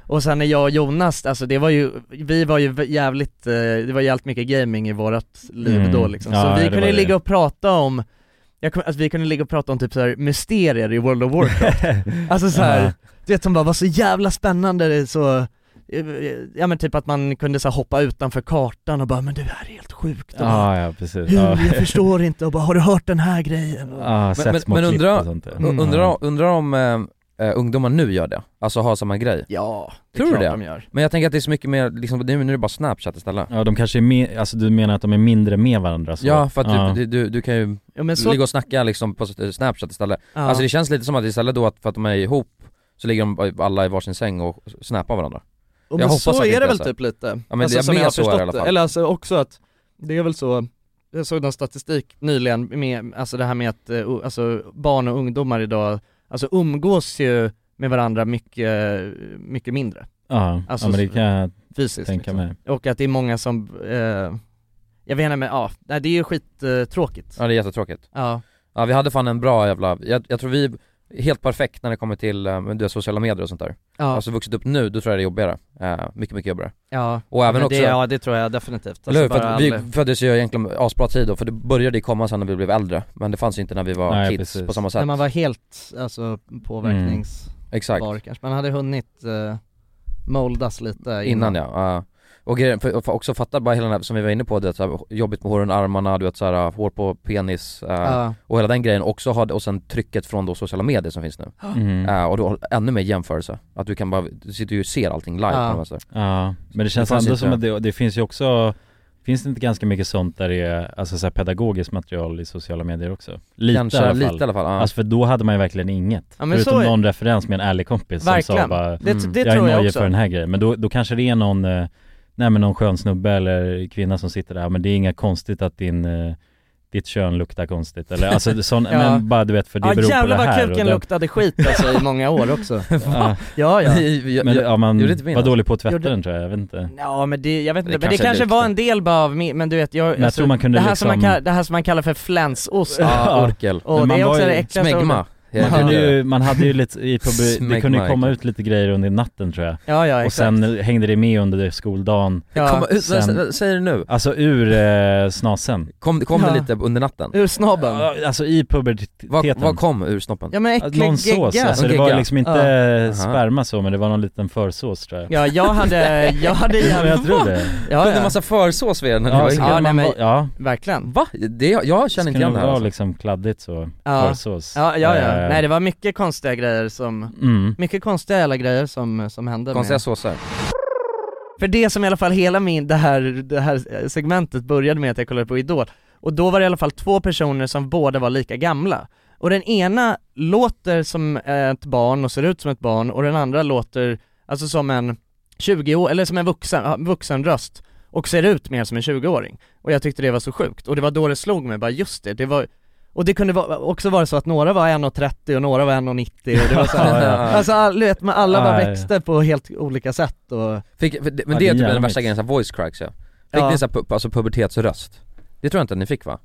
Speaker 4: Och sen när jag och Jonas, alltså det var ju, vi var ju jävligt, eh, det var jävligt mycket gaming i vårat liv
Speaker 3: Mm.
Speaker 4: då liksom. Så
Speaker 3: Ja,
Speaker 4: vi
Speaker 3: det
Speaker 4: kunde
Speaker 3: var det.
Speaker 4: ligga och prata om, jag kom, alltså, vi kunde ligga och prata om typ så här mysterier i World of Warcraft.
Speaker 3: <laughs>
Speaker 4: alltså så här,
Speaker 3: Ja.
Speaker 4: du vet som bara var så jävla spännande, det är så eh, Ja men typ att man kunde så här hoppa utanför kartan och bara 'Men det här är helt sjukt' och bara,
Speaker 3: Ja, ja precis.
Speaker 4: Hur?
Speaker 3: Ja.
Speaker 4: Jag förstår inte och bara 'Har du hört den här grejen?'
Speaker 3: <laughs>
Speaker 4: Och,
Speaker 3: Ja, sett
Speaker 2: men-
Speaker 3: små
Speaker 2: men
Speaker 3: klipp
Speaker 2: undra-
Speaker 3: och sånt där. Mm.
Speaker 2: U- Undrar, undrar om eh, eh, ungdomar nu gör det, alltså har samma grej.
Speaker 4: ja, det
Speaker 2: Tror
Speaker 4: är
Speaker 2: du
Speaker 4: klart
Speaker 2: det?
Speaker 4: de gör.
Speaker 2: Men jag tänker att det är så mycket mer, liksom, nu, nu är det bara snapchat istället.
Speaker 3: Ja de kanske är mer, alltså du menar att de är mindre med varandra så?
Speaker 2: Ja, för att typ
Speaker 3: Ja.
Speaker 2: Du, du, du kan ju
Speaker 4: Ja, men så,
Speaker 2: ligga och snacka liksom på snapchat istället.
Speaker 4: ja.
Speaker 2: Alltså det känns lite som att istället då att, för att de är ihop, så ligger de alla i varsin säng och snappar varandra.
Speaker 4: Och
Speaker 2: Jag
Speaker 4: men
Speaker 2: hoppas
Speaker 4: så
Speaker 2: att det
Speaker 4: är
Speaker 2: inte
Speaker 4: det
Speaker 2: är
Speaker 4: väl
Speaker 2: så.
Speaker 4: typ lite?
Speaker 2: men jag
Speaker 4: som
Speaker 2: menar
Speaker 4: jag har
Speaker 2: så är det i
Speaker 4: förstått
Speaker 2: alla
Speaker 4: det.
Speaker 2: fall.
Speaker 4: Eller alltså också att, det är väl så, jag såg någon statistik nyligen med, alltså det här med att, eh, o- alltså barn och ungdomar idag, alltså umgås ju med varandra mycket, mycket mindre
Speaker 3: ja.
Speaker 4: alltså-
Speaker 3: ja men det kan jag
Speaker 4: fysiskt liksom.
Speaker 3: tänka mig.
Speaker 4: Och att det är många som, eh, jag vet inte men ja, nej, det är ju skittråkigt
Speaker 2: Ja det är jättetråkigt.
Speaker 4: Ja,
Speaker 2: Ja vi hade fan en bra jävla, jag, jag tror vi är helt perfekt när det kommer till eh, men du vet, sociala medier och sånt där.
Speaker 4: ja,
Speaker 2: Alltså vuxit upp nu, då tror jag det är jobbigare. Eh, mycket, mycket jobbigare.
Speaker 4: ja
Speaker 2: Och även
Speaker 4: Men
Speaker 2: också,
Speaker 4: det, Ja det tror jag definitivt Alltså,
Speaker 2: eller hur? För
Speaker 4: bara
Speaker 2: att vi
Speaker 4: aldrig-
Speaker 2: föddes ju egentligen med asbra tid då, för det började ju komma sen när vi blev äldre. Men det fanns ju inte när vi var
Speaker 3: Nej,
Speaker 2: kids
Speaker 3: precis.
Speaker 2: på samma sätt.
Speaker 4: När man var helt, alltså påverknings...
Speaker 2: Exakt.
Speaker 4: var kanske, man hade hunnit eh, moldas lite innan,
Speaker 2: Innan ja, ja. Och grejen, för, och också fatta bara hela den här, som vi var inne på, du vet, så här, jobbigt med hår under armarna, du vet så här, hår på penis eh,
Speaker 4: Ja.
Speaker 2: och hela den grejen också har, och sen trycket från då sociala medier som finns nu.
Speaker 3: Mm.
Speaker 2: Eh, och då ännu mer jämförelse, att du kan bara, du sitter ju och ser allting live
Speaker 4: Ja.
Speaker 2: på något sätt.
Speaker 3: Ja, men det känns
Speaker 2: fanns
Speaker 3: ändå
Speaker 2: inte.
Speaker 3: som att det, det finns ju också Finns det inte ganska mycket sånt där det är, alltså så här pedagogiskt material i sociala medier också? Lite
Speaker 2: Kanske,
Speaker 3: i alla fall.
Speaker 2: lite i alla fall. ja.
Speaker 3: Alltså för då hade man ju verkligen inget.
Speaker 4: Ja, men
Speaker 3: Förutom
Speaker 4: så är-
Speaker 3: någon referens med en ärlig kompis som sa
Speaker 4: Verkligen,
Speaker 3: bara
Speaker 4: det,
Speaker 2: mm,
Speaker 4: det
Speaker 3: Jag är
Speaker 4: tror jag
Speaker 3: nojig
Speaker 4: också
Speaker 3: för den här grejen, men då, då kanske det är någon eh, Nej men någon skön snubbe eller kvinna som sitter där, men det är inga konstigt att din eh, Ditt kön luktar konstigt eller alltså det- sån,
Speaker 4: <laughs> Ja.
Speaker 3: men bara du vet för det
Speaker 4: Ja
Speaker 3: beror på det
Speaker 4: jävlar vad
Speaker 3: här
Speaker 4: kuken
Speaker 3: och
Speaker 4: luktade skit alltså i många
Speaker 2: <laughs>
Speaker 4: år också
Speaker 3: den, ja,
Speaker 4: Ja <laughs> ja
Speaker 2: Jag-
Speaker 3: Men
Speaker 2: jag-
Speaker 3: ja, man
Speaker 2: gjorde inte min,
Speaker 3: var
Speaker 2: alltså.
Speaker 3: dålig på att tvätta
Speaker 4: Gjorde-
Speaker 3: den tror jag, jag vet inte
Speaker 4: Ja men det, jag vet inte,
Speaker 2: Det
Speaker 4: men det
Speaker 2: kanske
Speaker 4: kanske
Speaker 2: luktar.
Speaker 4: var en del bara av min, men du vet jag, alltså,
Speaker 3: jag tror man kunde
Speaker 4: det, här som man
Speaker 3: liksom-
Speaker 4: kallar, det här som man kallar för flänsost,
Speaker 2: Ja, orkel.
Speaker 4: och
Speaker 3: men
Speaker 4: det
Speaker 3: man
Speaker 4: är
Speaker 3: var
Speaker 4: också
Speaker 3: ju-
Speaker 4: det äckligaste
Speaker 2: Smegma.
Speaker 4: ordet.
Speaker 2: Ja,
Speaker 3: Man, kunde ju, man hade ju lite, i pubi, det kunde ju
Speaker 2: Smegma,
Speaker 3: komma
Speaker 2: ja.
Speaker 3: ut lite grejer under natten tror jag
Speaker 4: Ja ja
Speaker 3: Och
Speaker 4: exakt
Speaker 3: sen hängde det med under skoldagen,
Speaker 4: ja.
Speaker 2: Komma ut,
Speaker 3: Sen-
Speaker 2: sä- säg det nu.
Speaker 3: alltså ur eh, snasen
Speaker 2: Kom, kom
Speaker 4: Ja.
Speaker 2: det lite under natten?
Speaker 4: Ur snobben? Ja,
Speaker 3: Ja, Alltså i puberteten
Speaker 2: Vad, vad kom ur snoppen?
Speaker 4: men
Speaker 3: Att
Speaker 4: äcklig
Speaker 3: Någon sås,
Speaker 4: gegga
Speaker 3: alltså det
Speaker 2: Gegga.
Speaker 3: var liksom inte
Speaker 2: Aha.
Speaker 3: sperma så men det var någon liten försås tror jag
Speaker 4: Ja jag hade, jag
Speaker 3: <laughs>
Speaker 4: hade
Speaker 3: Ja, jag
Speaker 4: jävligt
Speaker 3: tror det
Speaker 4: Ja,
Speaker 2: Kom det en
Speaker 4: ja.
Speaker 2: massa försås vid er när ni
Speaker 3: Ja,
Speaker 2: var
Speaker 3: så
Speaker 2: yngre?
Speaker 3: kunde
Speaker 4: nej,
Speaker 3: man
Speaker 4: men-
Speaker 3: vara- ja
Speaker 4: verkligen
Speaker 2: Va? Det, jag
Speaker 3: så
Speaker 2: känner inte
Speaker 3: kunde
Speaker 2: igen
Speaker 3: det
Speaker 2: det här
Speaker 3: vara
Speaker 2: alltså.
Speaker 3: liksom kladdigt så,
Speaker 4: Ja,
Speaker 3: försås
Speaker 4: ja, ja, ja.
Speaker 3: Eh,
Speaker 4: nej det var mycket konstiga grejer som,
Speaker 3: mm.
Speaker 4: mycket konstiga jävla grejer som, som hände
Speaker 2: Konstiga
Speaker 4: med
Speaker 2: såser.
Speaker 4: För det som i alla fall hela min, det här, det här eh, segmentet började med att jag kollade på Idol Och då var det i alla fall två personer som båda var lika gamla Och den ena låter som ett barn och ser ut som ett barn och den andra låter alltså som en 20 år, eller som en vuxen, ja, vuxen röst och ser ut mer som en 20-åring Och jag tyckte det var så sjukt, och det var då det slog mig bara just det, det var och det kunde vara, också vara så att några var 1,30 och några var 1,90 och det var så här,
Speaker 3: Ja, <laughs> ja.
Speaker 4: Alltså all, du vet, men alla bara
Speaker 3: Ja, ja.
Speaker 4: växte på helt olika sätt och
Speaker 2: <laughs> Fick, för det-
Speaker 3: Ja,
Speaker 2: men
Speaker 3: det
Speaker 2: det
Speaker 3: är
Speaker 2: är typ den
Speaker 3: jävligt.
Speaker 2: värsta grejen, så här voice cracks ja. Fick
Speaker 4: Ja.
Speaker 2: ni så här, pu- alltså pubertetsröst? Det tror jag inte ni fick va?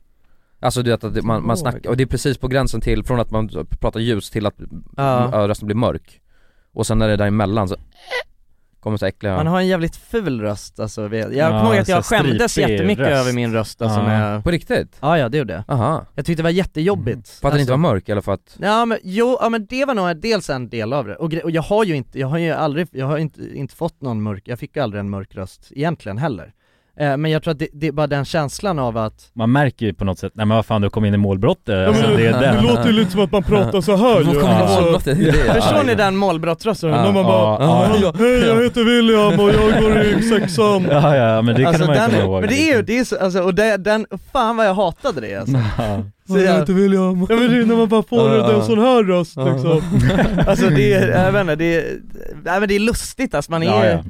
Speaker 2: Alltså du vet att det- man, man snackar, och det är precis på gränsen till, från att man pratar ljus till att
Speaker 4: Ja.
Speaker 3: Mm,
Speaker 2: ja. rösten blir mörk Och sen när det är däremellan så <sniffs> kommer så här äckliga
Speaker 4: Man har en jävligt ful röst alltså, Vi- jag
Speaker 3: Ja,
Speaker 4: kommer ihåg att jag
Speaker 3: så här
Speaker 4: skämdes
Speaker 3: stripig
Speaker 4: jättemycket
Speaker 3: röst.
Speaker 4: över min röst alltså
Speaker 3: Ja.
Speaker 4: när jag...
Speaker 2: På riktigt?
Speaker 4: Ja ja det gjorde jag.
Speaker 2: Aha.
Speaker 4: Jag tyckte det var
Speaker 3: Mm.
Speaker 4: jättejobbigt
Speaker 2: För att den inte var
Speaker 4: Alltså,
Speaker 2: mörk eller för att,
Speaker 4: Ja men jo, ja men det var nog dels en del av det, och, gre- och jag har ju inte, jag har ju aldrig, jag har inte, inte fått någon mörk, jag fick ju aldrig en mörk röst egentligen heller Eh, Men jag tror att det, det är bara den känslan av att
Speaker 3: Man märker ju på något sätt, nej men vad fan du kom in i målbrottet, alltså, det
Speaker 4: Mm.
Speaker 3: är
Speaker 4: <laughs>
Speaker 3: den
Speaker 2: låter ju lite som att man pratar
Speaker 4: så här
Speaker 2: Man kommer
Speaker 3: alltså.
Speaker 2: ihåg något, det är ju det.
Speaker 4: Förstår ni den målbrottsrösten?
Speaker 2: Ja,
Speaker 4: När man bara
Speaker 3: ja, ja,
Speaker 4: Hej jag heter William och jag går i sexan
Speaker 3: ja, ja, men det kan
Speaker 4: Alltså
Speaker 3: man ju liksom.
Speaker 4: den,
Speaker 3: komma ihåg
Speaker 4: men det är ju, det är så, alltså, och det, den, fan vad jag hatade det
Speaker 3: Mm.
Speaker 4: alltså.
Speaker 3: Ja.
Speaker 4: Så jag,
Speaker 2: William.
Speaker 4: ja men det är när man bara får
Speaker 2: Ja,
Speaker 4: en
Speaker 2: ja.
Speaker 4: sån här röst
Speaker 2: Ja.
Speaker 4: liksom Alltså
Speaker 3: <laughs>
Speaker 4: det är, jag vet inte, det är, nej, men det är lustigt alltså, man är
Speaker 3: ja, ja.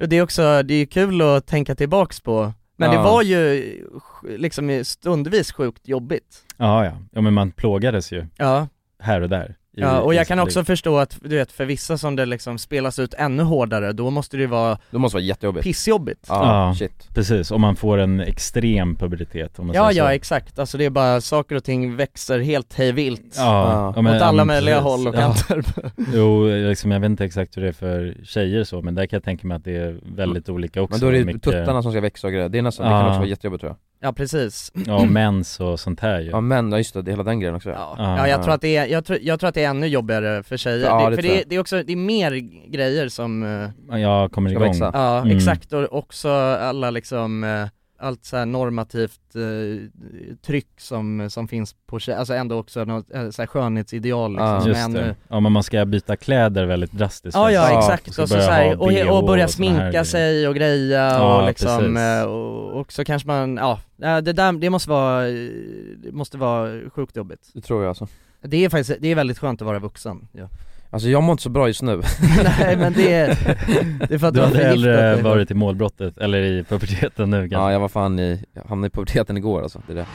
Speaker 4: Och det är också, det är ju kul att tänka tillbaks på Men
Speaker 2: Ja.
Speaker 4: det var ju sj- liksom stundvis sjukt jobbigt
Speaker 3: ja, ja, ja men man plågades ju
Speaker 4: Ja,
Speaker 3: här och där i-
Speaker 4: ja och
Speaker 3: i
Speaker 4: jag kan
Speaker 3: sitt
Speaker 4: också förstå att, du vet för vissa som det liksom spelas ut ännu hårdare, då måste det ju vara
Speaker 2: Det måste vara jättejobbigt.
Speaker 4: pissjobbigt
Speaker 2: Ja,
Speaker 3: Ja.
Speaker 2: shit.
Speaker 3: liv. Precis, om man får en extrem pubertet om man
Speaker 4: Ja
Speaker 3: säger
Speaker 4: ja
Speaker 3: så.
Speaker 4: exakt, alltså det är bara saker och ting växer helt hejvilt
Speaker 3: Ja,
Speaker 2: Ja.
Speaker 3: men-
Speaker 4: Åt alla
Speaker 3: men
Speaker 4: möjliga
Speaker 3: precis.
Speaker 4: håll och
Speaker 3: ja. <laughs>
Speaker 4: kanter
Speaker 3: Jo, liksom, jag vet inte exakt hur det är för tjejer så, men där kan jag tänka mig att det är väldigt
Speaker 4: Mm.
Speaker 3: olika också
Speaker 2: Men då är det ju
Speaker 3: Mycket-
Speaker 2: tuttarna som ska växa och grejer, det, är nästan, det
Speaker 3: Ja.
Speaker 2: kan också vara jättejobbigt tror jag.
Speaker 4: Ja precis,
Speaker 3: Ja, mens och sånt här ju
Speaker 2: Ja men, ja just det, det är hela den grejen också.
Speaker 4: ja,
Speaker 3: Ja.
Speaker 4: ja jag tror att det är, jag tror, jag tror att det är ännu jobbigare för tjejer,
Speaker 2: Ja,
Speaker 4: det,
Speaker 2: det
Speaker 4: för
Speaker 2: tror
Speaker 4: det, är-
Speaker 2: jag.
Speaker 4: det är också, det är mer grejer som eh,
Speaker 3: Jag kommer
Speaker 2: Ska
Speaker 3: igång
Speaker 2: växa.
Speaker 4: Ja,
Speaker 3: Mm.
Speaker 4: exakt och också alla liksom, eh, allt så här normativt eh, tryck som, som finns på tjejer, alltså ändå också något eh, så här skönhetsideal liksom,
Speaker 2: Ja,
Speaker 4: som är
Speaker 3: Just
Speaker 4: ännu
Speaker 3: det. Ja men man ska byta kläder väldigt drastiskt
Speaker 4: Ja ja
Speaker 3: alltså.
Speaker 2: Ja,
Speaker 4: exakt,
Speaker 3: och ska
Speaker 4: och, så
Speaker 3: börja
Speaker 4: så
Speaker 3: ha
Speaker 4: här, och,
Speaker 3: BH
Speaker 4: och börja
Speaker 3: och såna här grejer.
Speaker 4: sminka sig och greja
Speaker 3: Ja,
Speaker 4: och liksom,
Speaker 3: precis.
Speaker 4: eh, och, och så kanske man, ja, eh, det där, det måste vara, eh, det måste vara sjukt jobbigt
Speaker 2: Det tror jag alltså.
Speaker 4: Det är faktiskt, det är väldigt skönt att vara vuxen
Speaker 3: <laughs>
Speaker 4: ja.
Speaker 2: Alltså jag mår inte så bra just nu.
Speaker 4: Nej men det är, det är för att
Speaker 3: Du
Speaker 4: har
Speaker 3: hade
Speaker 4: förgiftat
Speaker 3: hellre
Speaker 4: dig.
Speaker 3: varit i målbrottet, eller i puberteten nu
Speaker 2: <laughs>
Speaker 3: kanske?
Speaker 2: Ja jag var fan i, jag hamnade i puberteten igår alltså, det är det.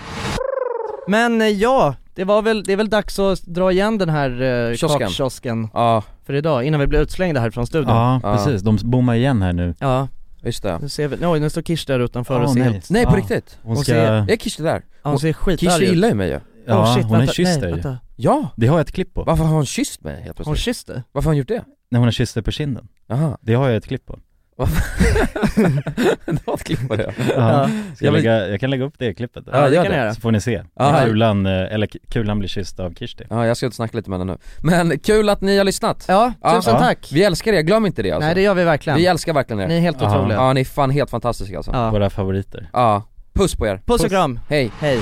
Speaker 4: Men eh, ja, det var väl, det är väl dags att dra igen den här eh,
Speaker 2: Kiosken.
Speaker 4: kakkiosken
Speaker 2: Ja,
Speaker 4: för idag, innan vi blir utslängda här från studion Ja,
Speaker 3: Ja,
Speaker 2: Ja.
Speaker 3: precis, de bommar igen här nu
Speaker 2: just det.
Speaker 4: nu ser vi, oj nu står Kish där utanför och
Speaker 3: Åh,
Speaker 4: ser
Speaker 3: nej.
Speaker 4: helt,
Speaker 2: Nej på
Speaker 3: Ja.
Speaker 2: riktigt!
Speaker 3: Hon
Speaker 4: Och
Speaker 3: ska,
Speaker 4: se-
Speaker 2: Är Kish det där?
Speaker 4: ja, hon ser
Speaker 2: Kish
Speaker 4: skitarg ut
Speaker 2: gillar ju mig ju.
Speaker 3: ja
Speaker 4: Åh, shit,
Speaker 3: hon har
Speaker 4: vänta,
Speaker 3: kysst
Speaker 4: nej,
Speaker 3: dig
Speaker 4: vänta.
Speaker 2: Ja!
Speaker 3: Det har jag ett klipp på,
Speaker 2: Varför har hon kysst mig helt
Speaker 4: Hon
Speaker 2: plötsligt?
Speaker 4: kysste? dig?
Speaker 2: Varför har hon gjort det?
Speaker 3: när hon har kysst dig på kinden
Speaker 2: Jaha,
Speaker 3: Det har jag ett klipp på
Speaker 2: det var ett klipp på det
Speaker 4: Ja.
Speaker 3: Ska jag, lägga, jag kan lägga upp det klippet där.
Speaker 2: Ja,
Speaker 4: det
Speaker 2: gör
Speaker 4: kan
Speaker 2: det.
Speaker 4: jag göra
Speaker 3: Så får ni se,
Speaker 2: Ja.
Speaker 3: kulan, eh, eller k- kulan blir kysst av Kirsti
Speaker 2: <laughs> Ja, jag ska ut och snacka lite med henne nu. Men kul att ni har lyssnat!
Speaker 4: Ja,
Speaker 2: Ja.
Speaker 4: tusen
Speaker 3: Ja.
Speaker 4: tack!
Speaker 2: Vi älskar er, glöm inte det alltså.
Speaker 4: Nej det gör vi verkligen,
Speaker 2: Vi älskar verkligen er.
Speaker 4: ni är helt
Speaker 3: Ja.
Speaker 4: otroliga
Speaker 2: Ja, ni är fan helt fantastiska alltså. Ja.
Speaker 4: ja.
Speaker 3: Våra favoriter
Speaker 2: Puss på er.
Speaker 4: Puss och kram,
Speaker 2: Hej.
Speaker 4: hej